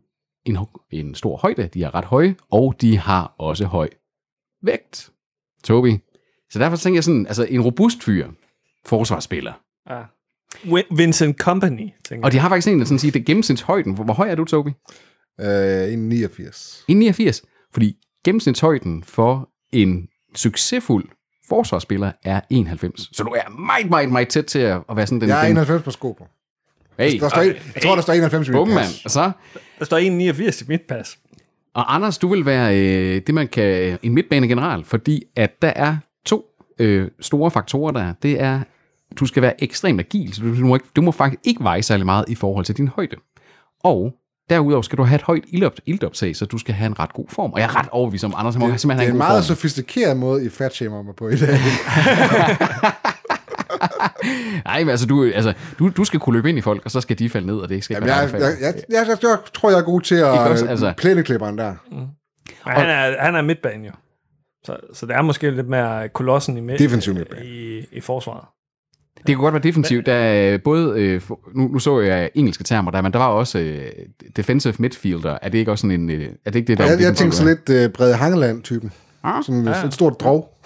Speaker 3: en, ho- en stor højde, de er ret høje, og de har også høj vægt. Tobi. Så derfor tænker jeg sådan, altså en robust fyr, forsvarsspiller.
Speaker 1: Ja. Win- Vincent Company, tænker
Speaker 3: Og de har faktisk en, der sådan siger, det er gennemsnitshøjden. Hvor, hvor høj er du, Tobi?
Speaker 2: Øh, en 89.
Speaker 3: 1,89. Fordi gennemsnitshøjden for en succesfuld forsvarsspiller er 91. Så du er meget, meget, meget tæt til at at være sådan den...
Speaker 2: Jeg er
Speaker 3: den,
Speaker 2: 91 på sko på.
Speaker 3: hey,
Speaker 2: Der står, en- jeg tror, der står 91 i mit
Speaker 3: Bum,
Speaker 2: pas.
Speaker 3: mand. Og, så,
Speaker 1: Der står 1,89 i mit pas.
Speaker 3: og Anders, du vil være øh, det, man kan... En midtbanegeneral, fordi at der er to øh, store faktorer der. er. Det er, du skal være ekstremt agil, så du, du, må, ikke, du må faktisk ikke veje særlig meget i forhold til din højde. Og Derudover skal du have et højt ildopt- ildoptag, så du skal have en ret god form. Og jeg er ret overbevist om, Anders han må det,
Speaker 2: Det
Speaker 3: simpelthen have
Speaker 2: er en
Speaker 3: en god
Speaker 2: meget
Speaker 3: form.
Speaker 2: sofistikeret måde, I fatshamer mig på i dag.
Speaker 3: Nej, men altså, du, altså du, du skal kunne løbe ind i folk, og så skal de falde ned, og det skal ikke
Speaker 2: Jamen, jeg,
Speaker 3: være
Speaker 2: jeg,
Speaker 3: dig, der
Speaker 2: jeg,
Speaker 3: falder.
Speaker 2: jeg, jeg, jeg, jeg tror, jeg er god til at
Speaker 3: Ikke også,
Speaker 2: øh,
Speaker 3: altså?
Speaker 2: plæneklipperen der.
Speaker 1: Men han er, han er midtbanen jo. Så, så det er måske lidt mere kolossen i, midt,
Speaker 2: Defensiv midtbane.
Speaker 1: i, i forsvaret.
Speaker 3: Det kunne godt være defensivt, da øh, både, øh, for- nu, nu så jeg engelske termer der, men der var også øh, defensive midfielder. Er det ikke også sådan en, øh, er det ikke det, der er
Speaker 2: Jeg, jeg
Speaker 3: defensive
Speaker 2: tænkte sådan
Speaker 3: midfielder?
Speaker 2: lidt øh, Brede Hangeland-typen.
Speaker 3: Ah.
Speaker 2: Sådan
Speaker 1: Ja.
Speaker 2: ja. et stort drog.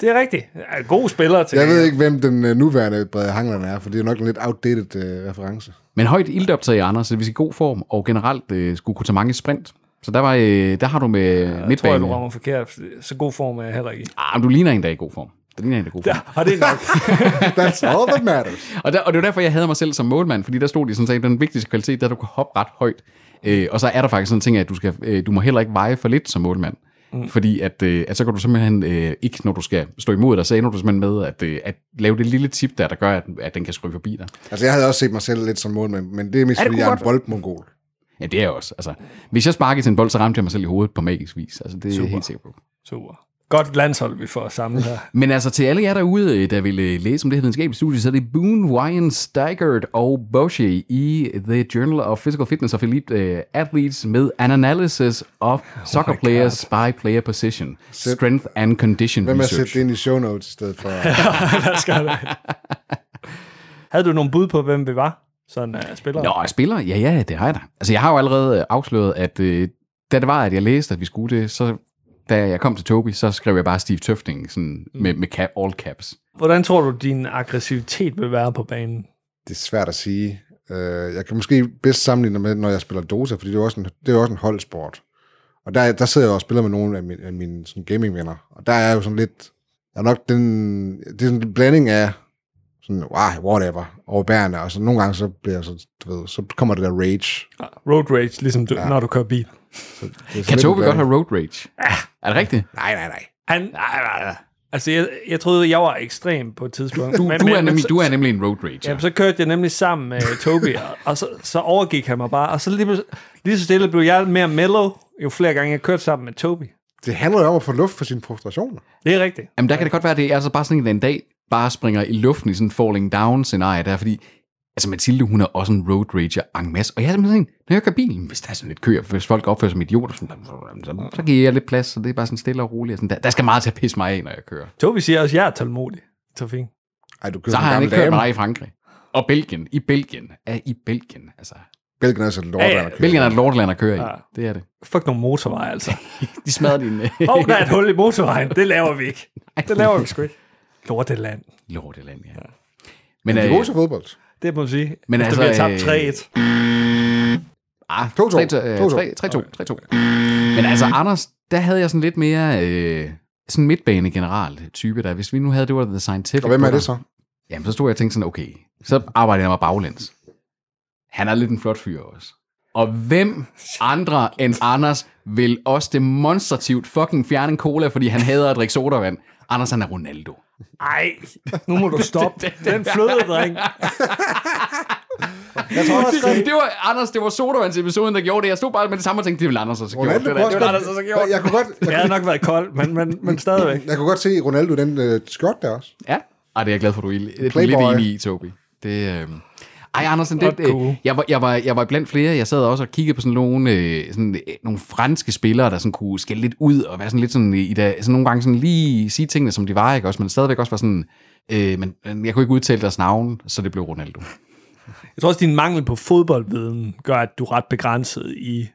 Speaker 1: Det er rigtigt. Ja, gode spillere til
Speaker 2: Jeg ved ikke, hvem den øh, nuværende Brede Hangeland er, for det er nok en lidt outdated øh, reference.
Speaker 3: Men højt ildoptag, Anders, så vi skal i god form, og generelt øh, skulle kunne tage mange sprint. Så der, var, øh, der har du med ja,
Speaker 1: Jeg tror, jeg,
Speaker 3: midtbanen.
Speaker 1: du rammer forkert. Så god form er jeg heller ikke i.
Speaker 3: Ah, men du ligner en, der er i god form. Du ligner en, der er i god form.
Speaker 1: Og det er nok.
Speaker 2: That's all that matters.
Speaker 3: Og, der, og det var derfor, jeg havde mig selv som målmand, fordi der stod de sådan set, den vigtigste kvalitet, der du kan hoppe ret højt. Øh, og så er der faktisk sådan en ting, at du, skal, øh, du må heller ikke veje for lidt som målmand. Mm. Fordi at, øh, at så kan du simpelthen øh, ikke, når du skal stå imod dig, så ender du simpelthen med at, øh, at lave det lille tip der, der gør, at, at den kan skryge forbi dig.
Speaker 2: Altså, jeg havde også set mig selv lidt som målmand, men det er mest,
Speaker 3: Ja, det
Speaker 2: fordi
Speaker 3: kunne
Speaker 2: jeg er en
Speaker 3: godt
Speaker 2: boldmongol.
Speaker 3: Ja, det er jeg også. Altså, hvis jeg sparkede til en bold, så ramte jeg mig selv i hovedet på magisk vis. Altså, det er jeg helt sikker på.
Speaker 1: Super. Godt landshold, vi får samlet her.
Speaker 3: Men altså til alle jer derude, øh, der vil øh, læse om det her videnskabelige studie, så er det Boone, Wyan, Steigert og Bosche i The Journal of Physical Fitness of Elite øh, Athletes med an analysis of soccer players by player position, strength and condition
Speaker 2: Hvem har sætte
Speaker 3: research.
Speaker 2: det ind i show notes i stedet for?
Speaker 1: Der skal det. Havde du nogle bud på, hvem vi var? Sådan uh, spillere?
Speaker 3: Nå, og spiller? Ja, ja, det har jeg da. Altså, jeg har jo allerede øh, afsløret, at øh, da det var, at jeg læste, at vi skulle det, så da jeg kom til Toby, så skrev jeg bare Steve Tøfting sådan, med, med cap, all caps.
Speaker 1: Hvordan tror du, din aggressivitet vil være på banen?
Speaker 2: det er svært at sige. Øh, Jeg kan måske bedst sammenligne med, når jeg spiller Dota, fordi det er jo også en, det er jo også en holdsport. Og der, der sidder jeg og spiller med nogle af mine, af mine sådan gamingvenner, og der er jeg jo sådan lidt, jeg er nok den, det er sådan en blanding af sådan, wow, whatever, overbærende, og så nogle gange, så bliver jeg så, du ved, så kommer det der rage.
Speaker 1: Road rage, ligesom du, ja. når du kører bil.
Speaker 2: Så det er
Speaker 3: Kan
Speaker 2: sådan lidt
Speaker 3: Toby
Speaker 2: en
Speaker 3: godt
Speaker 2: blanding.
Speaker 3: have road rage? Er det rigtigt?
Speaker 2: Nej, nej, nej.
Speaker 1: Han, nej, nej, nej. Altså, jeg, jeg troede, jeg var ekstrem på et tidspunkt.
Speaker 3: Du, du, er, nemlig,
Speaker 1: så,
Speaker 3: du er nemlig en road rage.
Speaker 1: Jamen, så kørte jeg nemlig sammen med Toby, og, og så, så overgik han mig bare. Og så lige, plut- lige så stille blev jeg mere mellow, jo flere gange jeg kørte sammen med Toby.
Speaker 2: Det handler jo om at få luft for sine frustrationer.
Speaker 1: Det er rigtigt.
Speaker 3: Jamen, der kan det godt være, at det er altså bare sådan en, der en dag bare springer i luften i sådan en falling down scenarie der, fordi altså Mathilde, hun er også en road rager en masse, og jeg er simpelthen sådan, en, når jeg kører bilen, hvis der er sådan lidt kø, og hvis folk opfører sig som idioter, sådan, så, så giver jeg lidt plads, så det er bare sådan stille og roligt. Og sådan der, der skal meget til at pisse mig af, når jeg kører.
Speaker 1: Toby siger også, at jeg er tålmodig. Så fint.
Speaker 2: Ej, du kører
Speaker 3: Så
Speaker 2: som en
Speaker 3: har han
Speaker 2: gammel
Speaker 3: ikke kørt med
Speaker 2: dame.
Speaker 3: dig i Frankrig. Og Belgien. I Belgien. Ja, i Belgien. Altså,
Speaker 2: Belgien er så lort,
Speaker 1: Ja, ja,
Speaker 2: at køre.
Speaker 3: Belgien er et lorteland at køre i.
Speaker 1: Ja.
Speaker 3: Det er det.
Speaker 1: Fuck nogle motorveje, altså.
Speaker 3: De smadrer din...
Speaker 1: Åh, oh, der er et hul i motorvejen. Det laver vi ikke. Det laver vi sgu ikke. Lorteland.
Speaker 3: Lorteland, ja. Men,
Speaker 2: De er
Speaker 3: øh,
Speaker 2: gode til fodbold.
Speaker 1: Det må man sige.
Speaker 3: Men
Speaker 1: Men altså,
Speaker 3: altså,
Speaker 1: der bliver
Speaker 3: øh,
Speaker 1: tabt 3-1.
Speaker 3: Ah,
Speaker 2: 2-2. 2-2.
Speaker 3: 3-2. 3-2. Men altså, Anders, der havde jeg sådan lidt mere øh, sådan midtbane generelt type der. Hvis vi nu havde, det var The Scientific.
Speaker 2: Og hvem er
Speaker 3: Brother.
Speaker 2: det så?
Speaker 3: Jamen, så stod jeg og tænkte sådan, okay, så arbejder jeg mig baglæns. Han er lidt en flot fyr også. Og hvem andre end Anders vil også demonstrativt fucking fjerne en cola, fordi han hader at drikke sodavand? Anders, han er Ronaldo.
Speaker 1: Ej, nu må du stoppe. Den fløde, dreng.
Speaker 2: Jeg tror også,
Speaker 3: Det, det var, Anders, det var sodavandsepisoden, der gjorde det. Jeg stod bare med det samme og tænkte, det vil Anders også gjort.
Speaker 2: Ronaldo
Speaker 3: Det
Speaker 2: kunne
Speaker 3: der,
Speaker 2: også
Speaker 3: det vil Anders også gjort.
Speaker 2: godt... Jeg kunne godt... Jeg
Speaker 1: Jeg havde nok været kold, men, men, men stadigvæk.
Speaker 2: Jeg kunne godt se Ronaldo i den øh, skjort der også.
Speaker 3: Ja. Ej, det er jeg glad for, du er, det er du lidt
Speaker 2: Playboy.
Speaker 3: enig i, Toby. Det, øh... Ej, Andersen,
Speaker 1: Og
Speaker 3: det, øh,
Speaker 1: cool.
Speaker 3: jeg, var, jeg, var, jeg var blandt flere. Jeg sad også og kiggede på sådan nogle, øh, sådan, øh, nogle franske spillere, der sådan kunne skælde lidt ud og være sådan lidt sådan, øh, i dag, sådan nogle gange sådan lige sige tingene, som de var, ikke også? Men stadigvæk også var sådan, øh, men men jeg kunne ikke udtale deres navn, så det blev Ronaldo.
Speaker 1: Jeg tror også, din mangel på fodboldviden gør, at du er ret begrænset i...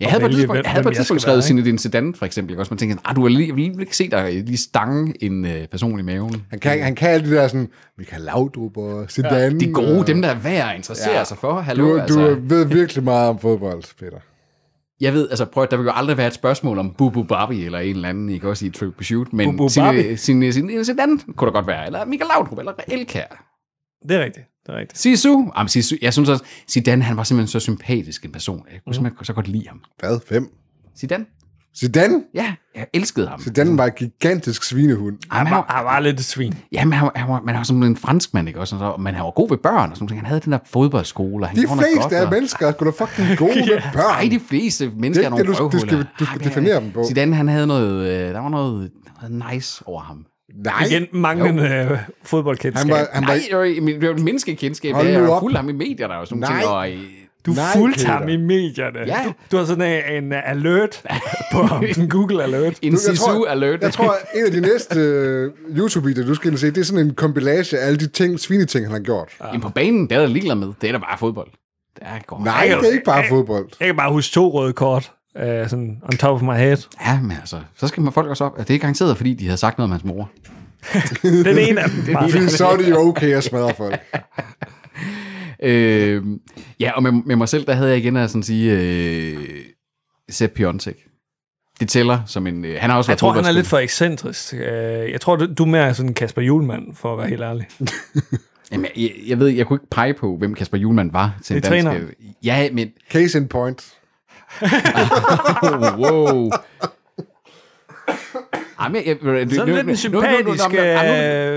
Speaker 3: Jeg havde på et
Speaker 1: vælge,
Speaker 3: tidspunkt,
Speaker 1: hvem-
Speaker 3: jeg havde på
Speaker 1: hvem
Speaker 3: et
Speaker 1: jeg
Speaker 3: tidspunkt
Speaker 1: skal være,
Speaker 3: skrevet sin din sedan, for eksempel, ikke også? Man tænkte sådan, ah, du vil lige, lige ikke se dig lige stange en øh, person i maven.
Speaker 2: Han kan, han kan alle de der sådan, Michael Laudrup og Zidane.
Speaker 3: De gode,
Speaker 2: og-
Speaker 3: dem der er værd at interessere
Speaker 2: Ja.
Speaker 3: sig for. Hallo,
Speaker 2: Du,
Speaker 3: altså.
Speaker 2: du ved virkelig meget om fodbold, Peter.
Speaker 3: Jeg ved, altså prøv at der vil jo aldrig være et spørgsmål om Bubu Barbie eller en eller anden, ikke også i Triple Shoot, men
Speaker 1: Bubu Barbie?
Speaker 3: sin, sin, sin, sin, anden kunne der godt være, eller Michael Laudrup, eller Elkær.
Speaker 1: Det er rigtigt. Det er rigtigt.
Speaker 3: Sisu, Jamen, Sisu, jeg synes også,
Speaker 2: Mhm.
Speaker 3: Zidane, han var simpelthen så sympatisk en person, jeg kunne simpelthen så godt lide ham.
Speaker 2: Hvad? Fem?
Speaker 3: Zidane?
Speaker 2: Zidane?
Speaker 3: Ja, jeg elskede ham.
Speaker 2: Zidane var et gigantisk svinehund.
Speaker 3: Han
Speaker 1: Han var,
Speaker 3: var,
Speaker 1: han var lidt et svin.
Speaker 3: ja, men han var, han var, man var sådan en fransk mand, ikke? Også, og så, men han var god ved børn, og sådan, noget. han havde den der fodboldskole. og Han
Speaker 2: De
Speaker 3: gjorde noget
Speaker 2: fleste
Speaker 3: godt,
Speaker 2: af
Speaker 3: og-
Speaker 2: mennesker er sgu da fucking gode med børn.
Speaker 3: Nej, de fleste mennesker
Speaker 2: Det
Speaker 3: er
Speaker 2: er
Speaker 3: nogle
Speaker 2: det, du- du
Speaker 3: røvhuller.
Speaker 2: skal- du skal
Speaker 3: Ej, det er
Speaker 2: definere
Speaker 3: det.
Speaker 2: dem på.
Speaker 3: Zidane, han havde noget, øh, der var noget, noget nice over ham.
Speaker 2: Nej,
Speaker 1: Igen manglende øh, fodboldkendskab.
Speaker 2: han var, han var,
Speaker 3: Nej, det var, det var et menneskekendskab.
Speaker 2: Hold
Speaker 3: Jeg
Speaker 2: nu
Speaker 3: var
Speaker 2: op.
Speaker 3: fuld af ham i medier, der var sådan
Speaker 2: Nej.
Speaker 3: nogle ting. Og, øh,
Speaker 1: du
Speaker 2: Nej,
Speaker 1: fulgte
Speaker 2: Peter.
Speaker 1: ham i medierne.
Speaker 3: Ja.
Speaker 1: Du, du har sådan en, en alert på ham. En Google alert.
Speaker 3: en
Speaker 2: jeg
Speaker 3: Sisu
Speaker 2: tror-
Speaker 3: alert.
Speaker 2: Jeg tror, en af de næste øh, YouTube-videoer, du skal ind og se, det er sådan en kompilage af alle de ting, svineting, han har gjort.
Speaker 3: Jamen, på banen, der er der ligeglad med. Det er da bare fodbold. Der går
Speaker 2: Nej,
Speaker 1: Ej,
Speaker 2: det er ikke bare
Speaker 1: ej.
Speaker 2: fodbold.
Speaker 1: Jeg kan bare huske to røde kort. Uh, sådan on top of my head.
Speaker 3: Ja, men altså, så skal man folk også op. Det er garanteret, fordi de havde sagt noget om hans mor.
Speaker 1: Den ene af dem. bare.
Speaker 2: Fordi så er det jo okay at smadre folk.
Speaker 3: Øh, ja, og med, med, mig selv, der havde jeg igen at sådan sige, øh, Sepp Piontek. Det tæller som en... Øh, han har også
Speaker 1: Jeg
Speaker 3: været
Speaker 1: tror, han er
Speaker 3: fodboldspiller.
Speaker 1: lidt for ekscentrisk. Øh, Jeg tror, du du er mere sådan Kasper Julemand, for at være helt ærlig.
Speaker 3: Jamen, jeg, jeg, ved, jeg kunne ikke pege på, hvem Kasper Julemand var til en
Speaker 1: Det er
Speaker 3: dansk...
Speaker 1: træneren.
Speaker 3: Ja, men...
Speaker 2: Case in point.
Speaker 3: Oh, wow. Jamen, jeg, jeg, nu-
Speaker 1: Sådan
Speaker 3: nu-
Speaker 1: lidt
Speaker 3: nu-
Speaker 1: en sympatisk
Speaker 3: nu- nu- nu- nu-
Speaker 1: øh,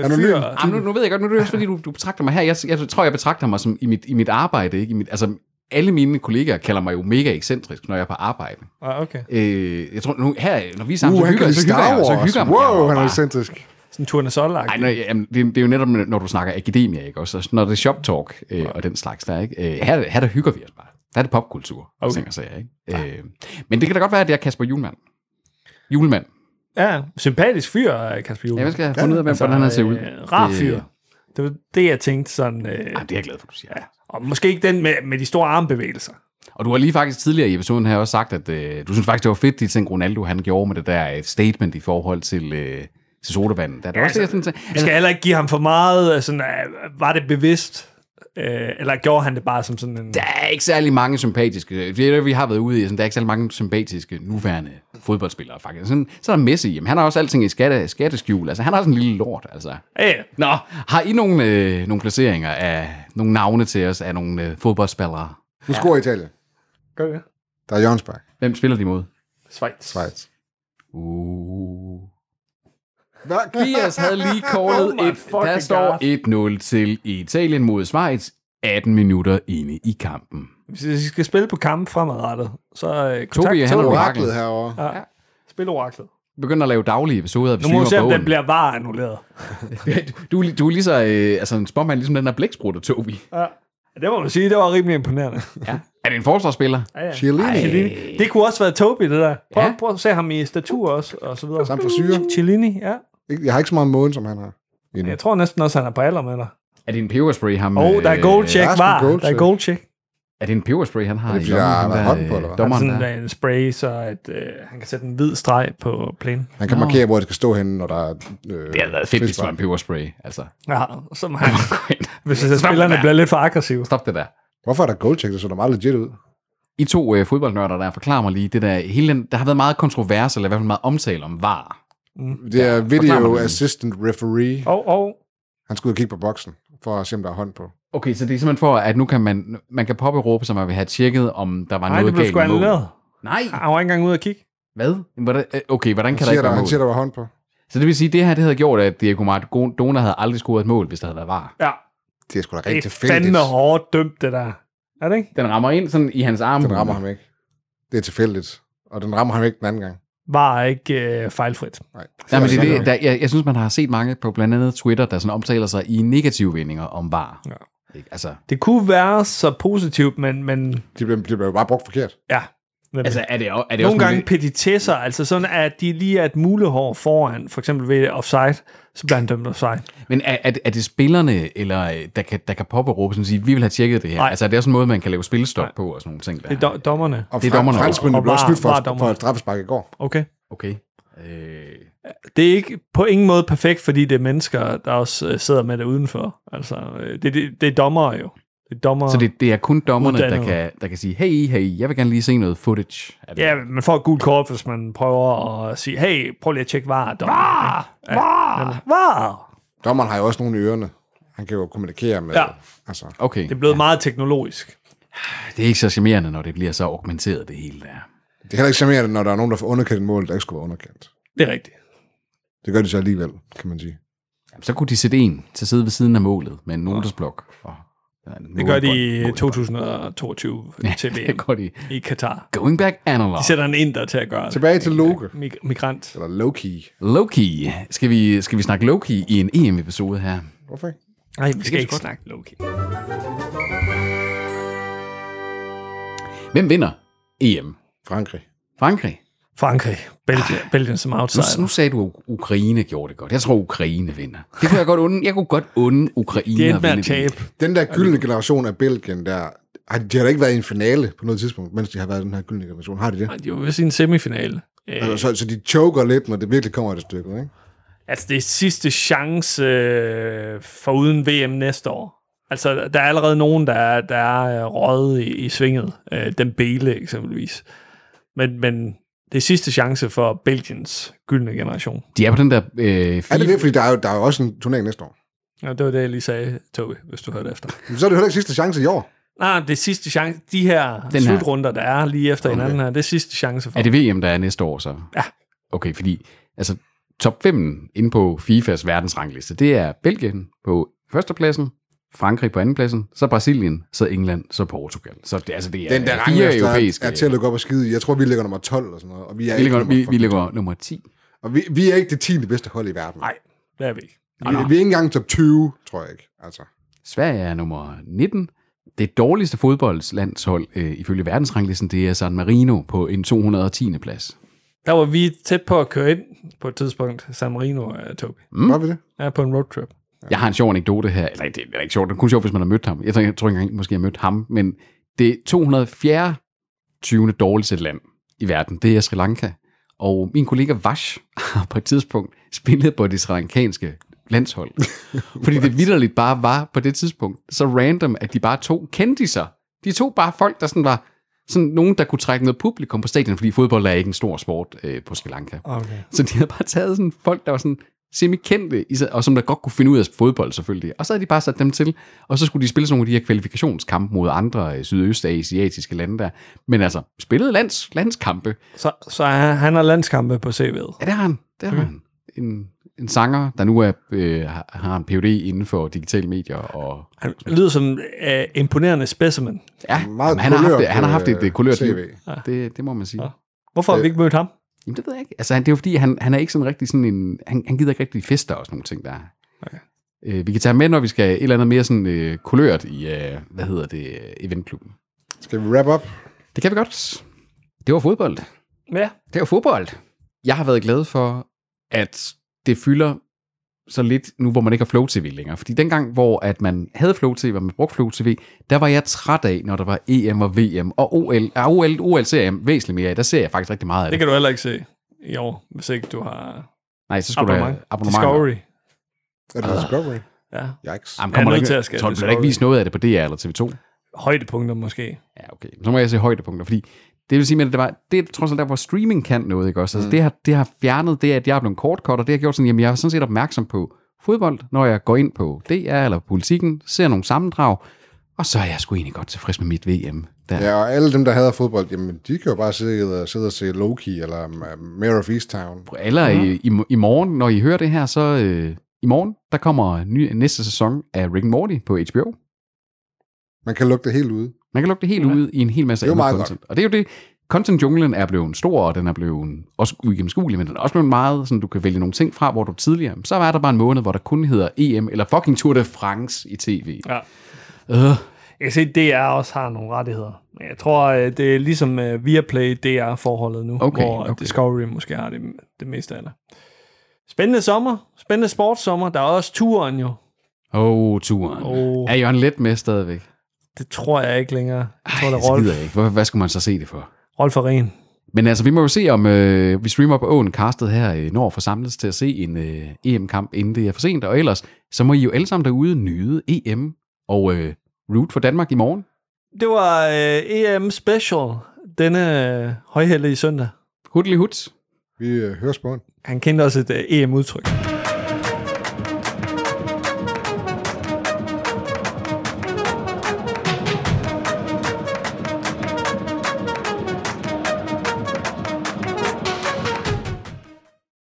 Speaker 2: anonym.
Speaker 1: fyr.
Speaker 3: Jamen, nu, nu ved jeg godt, nu er det også fordi, du, du betragter mig her. Jeg, jeg tror, jeg betragter mig som i mit, i mit arbejde. Ikke? I mit, altså, alle mine kolleger kalder mig jo mega ekscentrisk, når jeg er på arbejde.
Speaker 1: Ah, okay.
Speaker 3: Øh, jeg tror, nu, her, når vi er sammen,
Speaker 2: Uh,
Speaker 3: så
Speaker 2: han
Speaker 3: hygger,
Speaker 2: kan
Speaker 3: jeg- så
Speaker 2: lide
Speaker 3: hygger
Speaker 2: Star
Speaker 3: jeg, så
Speaker 2: Wars.
Speaker 3: hygger jeg mig
Speaker 2: Wow, han er
Speaker 3: bare.
Speaker 2: ekscentrisk.
Speaker 1: Sådan turnesol
Speaker 3: Ej, nej, jamen, det, det, er jo netop, når du snakker akademia, ikke? Også, altså, når det er shop talk øh, og den slags der, ikke? Øh, her, her der hygger vi os bare. Der er det popkultur, okay.
Speaker 1: Okay.
Speaker 3: tænker jeg, ikke? Øh, men det kan da godt være, at jeg er Kasper Julemand. Julemand.
Speaker 1: Ja, sympatisk fyr, øh, Kasper Julemand.
Speaker 3: Ja, man skal have fundet ud af, hvem- hvordan han ser ud.
Speaker 1: Øh, rar
Speaker 3: Det-
Speaker 1: fyr. Det var det, jeg tænkte sådan... Øh,
Speaker 3: Jamen, det er jeg glad for, du siger. Ja.
Speaker 1: og måske ikke den med, med de store armbevægelser.
Speaker 3: Og du har lige faktisk tidligere i episoden her også sagt, at øh, du synes faktisk, det var fedt, de ting Ronaldo han gjorde med det der øh, statement i forhold til, øh, til sodavanden. Der er ja, også, altså, det, jeg
Speaker 1: Vi
Speaker 3: synes,
Speaker 1: skal heller ikke give ham for meget... øh, Sådan, øh, var det bevidst? Øh, eller gjorde han det bare som sådan en...
Speaker 3: der er ikke særlig mange sympatiske, det er det, vi har været ude i, sådan, der er ikke særlig mange sympatiske nuværende fodboldspillere faktisk. Sådan, så er der Messi, jamen, han har også alting i skatte, skatteskjul, altså han har også en lille lort, altså.
Speaker 1: Ja,
Speaker 3: Nå, har I nogle, øh, nogle placeringer af nogle navne til os af nogle øh, fodboldspillere?
Speaker 2: Nu scorer Italien.
Speaker 1: gør det.
Speaker 2: Der er Jørgensberg.
Speaker 3: Hvem spiller de imod?
Speaker 1: Schweiz.
Speaker 2: Schweiz.
Speaker 3: Uh.
Speaker 2: Hvad?
Speaker 3: Dias havde lige callet
Speaker 1: Oh my
Speaker 3: oh et. Der
Speaker 1: fucking
Speaker 3: står 1-0 til Italien mod Schweiz. 18 minutter inde i kampen.
Speaker 1: Hvis vi skal spille på kampen fremadrettet, så øh, kontakt
Speaker 3: Tobi, han
Speaker 2: Det
Speaker 1: Tobi.
Speaker 2: er
Speaker 3: Oraklet.
Speaker 2: oraklet herovre.
Speaker 1: Ja. Spil oraklet.
Speaker 3: Begynder at lave daglige episoder, vi
Speaker 1: Nu må vi se,
Speaker 3: streamer
Speaker 1: om den
Speaker 3: bogen.
Speaker 1: bliver var annulleret.
Speaker 3: Du, du er lige så øh, altså en spormand, ligesom den der blæksprutte, Tobi.
Speaker 1: Ja. Det må man sige, det var rimelig imponerende.
Speaker 3: Ja. Er det en forsvarsspiller?
Speaker 1: Ja, ja.
Speaker 2: Chiellini.
Speaker 1: Chiellini. Det kunne også være Tobi, det der. Prøv,
Speaker 3: Ja.
Speaker 1: ja. prøv at se ham i statur også, og så videre.
Speaker 2: Samt frisyrer.
Speaker 1: Chiellini, ja.
Speaker 2: Ikke- Jeg har ikke så meget måden, som han har. endnu.
Speaker 1: Jeg tror næsten også, han er på alder med dig.
Speaker 3: Er det en peberspray, ham? øh,
Speaker 1: Åh, oh, der er goal check,
Speaker 2: der er sgu
Speaker 1: var.
Speaker 2: goal
Speaker 1: Der er
Speaker 2: check.
Speaker 1: goal check.
Speaker 3: Er det en peberspray, han har
Speaker 2: Er det,
Speaker 3: i
Speaker 2: fordi der
Speaker 3: lommen?
Speaker 2: har
Speaker 3: ham
Speaker 2: været
Speaker 3: der,
Speaker 2: hånd på,
Speaker 3: øh,
Speaker 2: eller hvad?
Speaker 1: Dommeren
Speaker 3: Dommeren
Speaker 1: Altså, sådan
Speaker 3: der.
Speaker 1: der. en spray, så at, øh, han kan sætte en hvid streg på plænen.
Speaker 2: Han kan
Speaker 3: Nå.
Speaker 2: markere, hvor det skal stå henne, når der er... Øh,
Speaker 3: Det havde været fedt, hvis det var en peberspray. Altså.
Speaker 1: Ja, som han,
Speaker 3: Gå ind.
Speaker 1: hvis spillerne bliver lidt for aggressive.
Speaker 3: Stop det der.
Speaker 2: Hvorfor er der goal check? Det så da meget legit ud.
Speaker 3: I to øh, fodboldnørder der, forklarer mig lige det der. Hele den, der har været meget kontrovers, eller i hvert fald meget omtale om VAR.
Speaker 2: Det er video
Speaker 3: mig det.
Speaker 2: assistant referee.
Speaker 1: Og, og
Speaker 2: Han skulle ud og kigge på boksen, for at se, om der er hånd på.
Speaker 3: Okay, så det er simpelthen for, at nu kan man, man kan påberåbe sig, at man vil have tjekket, om der var
Speaker 1: nej, det
Speaker 3: noget
Speaker 1: blev
Speaker 3: galt
Speaker 1: sgu
Speaker 3: med målet.
Speaker 1: annulleret.
Speaker 3: Nej,
Speaker 1: Han var ikke engang ude at kigge.
Speaker 3: hvad? Hvordan, øh, okay, hvordan
Speaker 2: Han
Speaker 3: kan der
Speaker 2: siger,
Speaker 3: ikke
Speaker 2: der,
Speaker 3: være
Speaker 2: han
Speaker 3: mål?
Speaker 2: siger, der var hånd på.
Speaker 3: Så det vil sige, at det her det havde gjort, at Diego Maradona havde aldrig scoret et mål, hvis der havde været var.
Speaker 1: Ja,
Speaker 2: Det er sgu da
Speaker 1: det
Speaker 2: rigtig
Speaker 1: er
Speaker 2: tilfældigt.
Speaker 1: fandme hårdt dømt, det der. Er det ikke?
Speaker 3: Den rammer ind sådan i hans arm.
Speaker 2: Den rammer ham ikke. Det er tilfældigt. Og den rammer ham ikke den anden gang.
Speaker 1: Var ikke øh, fejlfrit.
Speaker 2: Nej.
Speaker 3: Nej, men det, er
Speaker 2: sådan
Speaker 3: det, der, jeg, jeg synes, man har set mange på blandt andet Twitter, der sådan omtaler sig i negative vendinger om var. Ja. Ikke? Altså,
Speaker 1: Det kunne være så positivt, men, men
Speaker 2: De bliver, de bliver jo bare brugt forkert.
Speaker 1: ja. Nemlig.
Speaker 3: altså er det, jo- er det
Speaker 1: Nogle
Speaker 3: også
Speaker 1: gange petitesser, altså sådan, at de lige er et mulehår foran, for eksempel ved offside, så bliver han dømt offside.
Speaker 3: Men er, er, er det spillerne, eller øh, der kan, der kan påberåbe sig og sige, vi vil have tjekket det her?
Speaker 1: Nej.
Speaker 3: Altså er det også en måde, man kan lave spilstop på og sådan nogle ting der?
Speaker 1: Det er do- dommerne.
Speaker 2: Og
Speaker 3: Det er dommerne.
Speaker 2: franskmændene
Speaker 1: Og
Speaker 2: blev også
Speaker 1: var-
Speaker 2: snydt for,
Speaker 1: var dommerne.
Speaker 2: for et straffespark i går.
Speaker 1: Okay.
Speaker 3: Okay. Øh,
Speaker 1: Det er ikke på ingen måde perfekt, fordi det er mennesker, der også øh, sidder med det udenfor. Altså, øh, det, det, det er dommere jo. Det er dommere.
Speaker 3: så det, det er kun dommerne, der
Speaker 1: Uddannet.
Speaker 3: kan, der kan sige, hey, hey, jeg vil gerne lige se noget footage. af det.
Speaker 1: Ja, man får et gult kort, hvis man prøver at sige, hey, prøv lige at tjekke var. Var! Var! Var!
Speaker 2: Dommeren har jo også nogle i ørerne. Han kan jo kommunikere med...
Speaker 1: Ja.
Speaker 2: Altså,
Speaker 3: Okay,
Speaker 1: Det er blevet meget teknologisk.
Speaker 3: det er ikke så charmerende, når det bliver så augmenteret, det hele der.
Speaker 2: Det er heller ikke charmerende, når der er nogen, der får underkendt et mål, der ikke skulle være underkendt.
Speaker 1: Det er rigtigt.
Speaker 2: Det gør de så alligevel, kan man sige.
Speaker 3: Jamen, så kunne de sætte en til at sidde ved siden af målet med en notesblok. Og, ja, en
Speaker 1: Det gør de
Speaker 3: målebånd.
Speaker 1: i 2022 til
Speaker 3: Det
Speaker 1: VM
Speaker 3: gør de.
Speaker 1: i Katar.
Speaker 3: Going back analog.
Speaker 1: De sætter en inder til at gøre det.
Speaker 2: Tilbage til Loke.
Speaker 1: Mig- Migrant.
Speaker 2: Eller Loki.
Speaker 3: Loki. Skal vi, skal vi snakke Loki i en EM-episode her?
Speaker 2: Hvorfor ikke?
Speaker 1: Nej, vi skal
Speaker 3: så
Speaker 1: ikke
Speaker 3: godt.
Speaker 1: snakke Loki.
Speaker 3: Hvem vinder EM?
Speaker 2: Frankrig.
Speaker 3: Frankrig?
Speaker 1: Frankrig. Belgien, Belgien som
Speaker 3: Nu, nu
Speaker 1: outsider.
Speaker 3: sagde du, at Ukraine gjorde det godt. Jeg tror, Ukraine vinder. Det kunne jeg godt unde. Jeg kunne godt unde Ukraine
Speaker 1: Det er
Speaker 3: at
Speaker 1: med at
Speaker 3: vinde E
Speaker 1: tabe.
Speaker 2: Den der gyldne generation af Belgien, der, ej, de har da ikke været i en finale på noget tidspunkt, mens de har været i den her gyldne generation. Har de det?
Speaker 1: Nej, de var ved sin semifinale. Øh,
Speaker 2: Altså, så, så de choker lidt, når det virkelig kommer til stykket, ikke?
Speaker 1: altså, det er sidste chance øh, for uden VM næste år. Altså, der er allerede nogen, der er, der er øh, røget i, i svinget. Øh, den Bele eksempelvis. Men, men det er sidste chance for Belgiens gyldne generation.
Speaker 3: De er på den der... Øh,
Speaker 2: Er det
Speaker 3: FIFA
Speaker 2: det? Fordi der er, jo, der er jo også en turnering næste år.
Speaker 1: Og det var det, jeg lige sagde, Tobi, hvis du hørte efter.
Speaker 2: Men så er det heller ikke sidste chance i år.
Speaker 1: Nej, det er sidste chance. De her
Speaker 3: her.
Speaker 1: Den slutrunder, der er lige efter okay. hinanden her, det er sidste chance for.
Speaker 3: Er det VM, der er næste år så?
Speaker 1: Ja.
Speaker 3: Okay, fordi altså, top 5 inde på FIFAs verdensrangliste, det er Belgien på førstepladsen, Frankrig på andenpladsen, så Brasilien, så England, så Portugal. Så det, altså, det er
Speaker 2: Den der
Speaker 3: fire
Speaker 2: rangliste er,
Speaker 3: europæiske.
Speaker 2: er til at lukke op og skide i. Jeg tror, vi ligger nummer 12 eller sådan noget. Og vi er,
Speaker 3: vi, ligger,
Speaker 2: ikke
Speaker 3: vi,
Speaker 2: nummer,
Speaker 3: vi ligger nummer 10.
Speaker 2: og vi, vi er ikke det 10. bedste hold i verden.
Speaker 1: Nej, det er vi ikke.
Speaker 2: vi, vi, er ikke engang top 20, tror jeg ikke. Altså.
Speaker 3: Sverige er nummer 19. Det dårligste fodboldslandshold øh, ifølge verdensranglisten, det er San Marino på en 210. plads.
Speaker 1: Der var vi tæt på at køre ind på et tidspunkt, San Marino og Tobi.
Speaker 2: Mm. Var vi det?
Speaker 1: Ja, på en roadtrip.
Speaker 3: Jeg har en sjov anekdote her. Eller det er ikke sjovt, det er kun sjovt, hvis man har mødt ham. Jeg tror, jeg tror ikke engang, måske jeg har mødt ham. Men det 204. 20. dårligste land i verden, det er Sri Lanka. Og min kollega Vash har på et tidspunkt spillet på det sri lankanske landshold. Fordi det vidderligt bare var på det tidspunkt så random, at de bare tog kendiser. De tog bare folk, der sådan var sådan nogen, der kunne trække noget publikum på stadion, fordi fodbold er ikke en stor sport øh, på Sri Lanka.
Speaker 1: Okay.
Speaker 3: Så de havde bare taget sådan folk, der var sådan semikendte, i sig- og som der godt kunne finde ud af fodbold selvfølgelig. Og så havde de bare sat dem til, og så skulle de spille sådan nogle af de her kvalifikationskampe mod andre øh, sydøstasiatiske lande der. Men altså, spillede lands, landskampe.
Speaker 1: Så, så han, han har landskampe på CV'et.
Speaker 3: Ja, det har han. Det har han. En, en sanger, der nu er, øh, har- har en PhD inden for digitale medier. Og,
Speaker 1: Han lyder som øh, imponerende specimen.
Speaker 3: ja,
Speaker 2: Meget
Speaker 3: Meget han, har haft,
Speaker 2: kulørt,
Speaker 3: han har haft et
Speaker 2: øh,
Speaker 3: øh, kulørt
Speaker 2: CV.
Speaker 3: liv. Det, det må man sige.
Speaker 1: Ja. Hvorfor har vi ikke mødt ham?
Speaker 3: Jamen, det ved jeg ikke. Altså, han, det er jo fordi, han, han er ikke sådan rigtig sådan en... Han, han gider ikke rigtig fester og sådan nogle ting, der er.
Speaker 1: Okay.
Speaker 3: Øh, vi kan tage ham med, når vi skal et eller andet mere sådan øh, kulørt i, øh, hvad hedder det, øh, eventklubben.
Speaker 2: Skal vi wrap up?
Speaker 3: Det kan vi godt. Det var fodbold.
Speaker 1: Ja,
Speaker 3: Det var fodbold. Jeg har været glad for, at det fylder så lidt nu, hvor man ikke har Flow TV længere. Fordi dengang, hvor at man havde Flow TV, og man brugte Flow TV, der var jeg træt af, når der var EM og VM og OL. Ja, OL, OL ser jeg væsentligt mere af. Der ser jeg faktisk rigtig meget af
Speaker 1: det
Speaker 3: det.
Speaker 1: kan du heller ikke se i år, hvis ikke du har
Speaker 3: Nej, så skulle
Speaker 1: abonnement.
Speaker 3: der abonnement.
Speaker 1: Discovery.
Speaker 2: Er det Discovery?
Speaker 1: Ja.
Speaker 2: Yikes.
Speaker 3: Jamen,
Speaker 1: Jeg er
Speaker 3: kommer der
Speaker 1: nødt
Speaker 3: ikke,
Speaker 1: til at skære
Speaker 3: tror,
Speaker 1: det
Speaker 3: du, bliver der ikke
Speaker 1: sorry.
Speaker 3: vist noget af det på DR eller TV2?
Speaker 1: Højdepunkter måske.
Speaker 3: Ja, okay. Så må jeg se højdepunkter, fordi det vil sige, at det, var, det er trods alt der, hvor streaming kan noget, ikke også? Altså, det, har, det har fjernet det, at jeg er blevet kortkort, og det har gjort sådan, jamen jeg er sådan set opmærksom på fodbold, når jeg går ind på DR eller politikken, ser nogle sammendrag, og så er jeg sgu egentlig godt tilfreds med mit VM. Der. Ja.
Speaker 2: Ja, og alle dem, der hader fodbold, jamen, de kan jo bare sidde, og- sidde og se Loki eller um, Mayor of Easttown.
Speaker 3: Eller i, i, i, morgen, når I hører det her, så øh, i morgen, der kommer ny, næste sæson af Rick and Morty på HBO.
Speaker 2: Man kan lukke det helt ude.
Speaker 3: Man kan lukke det helt ja. ud i en hel masse
Speaker 2: Det er jo
Speaker 3: andet
Speaker 2: meget
Speaker 3: content. Godt. Og det er jo det, content-junglen er blevet stor, og den er blevet også uigennemskuelig, men den er også blevet meget, sådan du kan vælge nogle ting fra, hvor du tidligere, så var der bare en måned, hvor der kun hedder EM, eller fucking Tour de France i tv.
Speaker 1: Ja.
Speaker 3: Øh,
Speaker 1: Jeg kan se, at DR også har nogle rettigheder. Men Jeg tror, øh, det er ligesom øh, Viaplay DR-forholdet nu,
Speaker 3: Okay,
Speaker 1: hvor
Speaker 3: okay.
Speaker 1: okay. Discovery måske har det, det meste af det. Spændende sommer. Spændende sportssommer. Der er også turen jo.
Speaker 3: Åh, oh, turen.
Speaker 1: Åh.
Speaker 3: Oh. Er Jørgen Let med stadigvæk?
Speaker 1: Det tror jeg ikke længere. Jeg tror, det
Speaker 3: Ej, det
Speaker 1: er
Speaker 3: gider
Speaker 1: Rolf,
Speaker 3: jeg ikke. Hvor, hvad skulle man så se det for?
Speaker 1: Rolf Aren.
Speaker 3: Men altså, vi må jo se, om øh, vi streamer på åen castet her, øh, når forsamles til at se en øh, EM-kamp, inden det er for sent. Og ellers, så må I jo alle sammen derude nyde EM og øh, root for Danmark i morgen.
Speaker 1: Det var øh, EM Special denne øh, højhellige søndag.
Speaker 3: Hudli huds.
Speaker 2: Vi øh, hører spåen.
Speaker 1: Han kendte også et øh, EM-udtryk.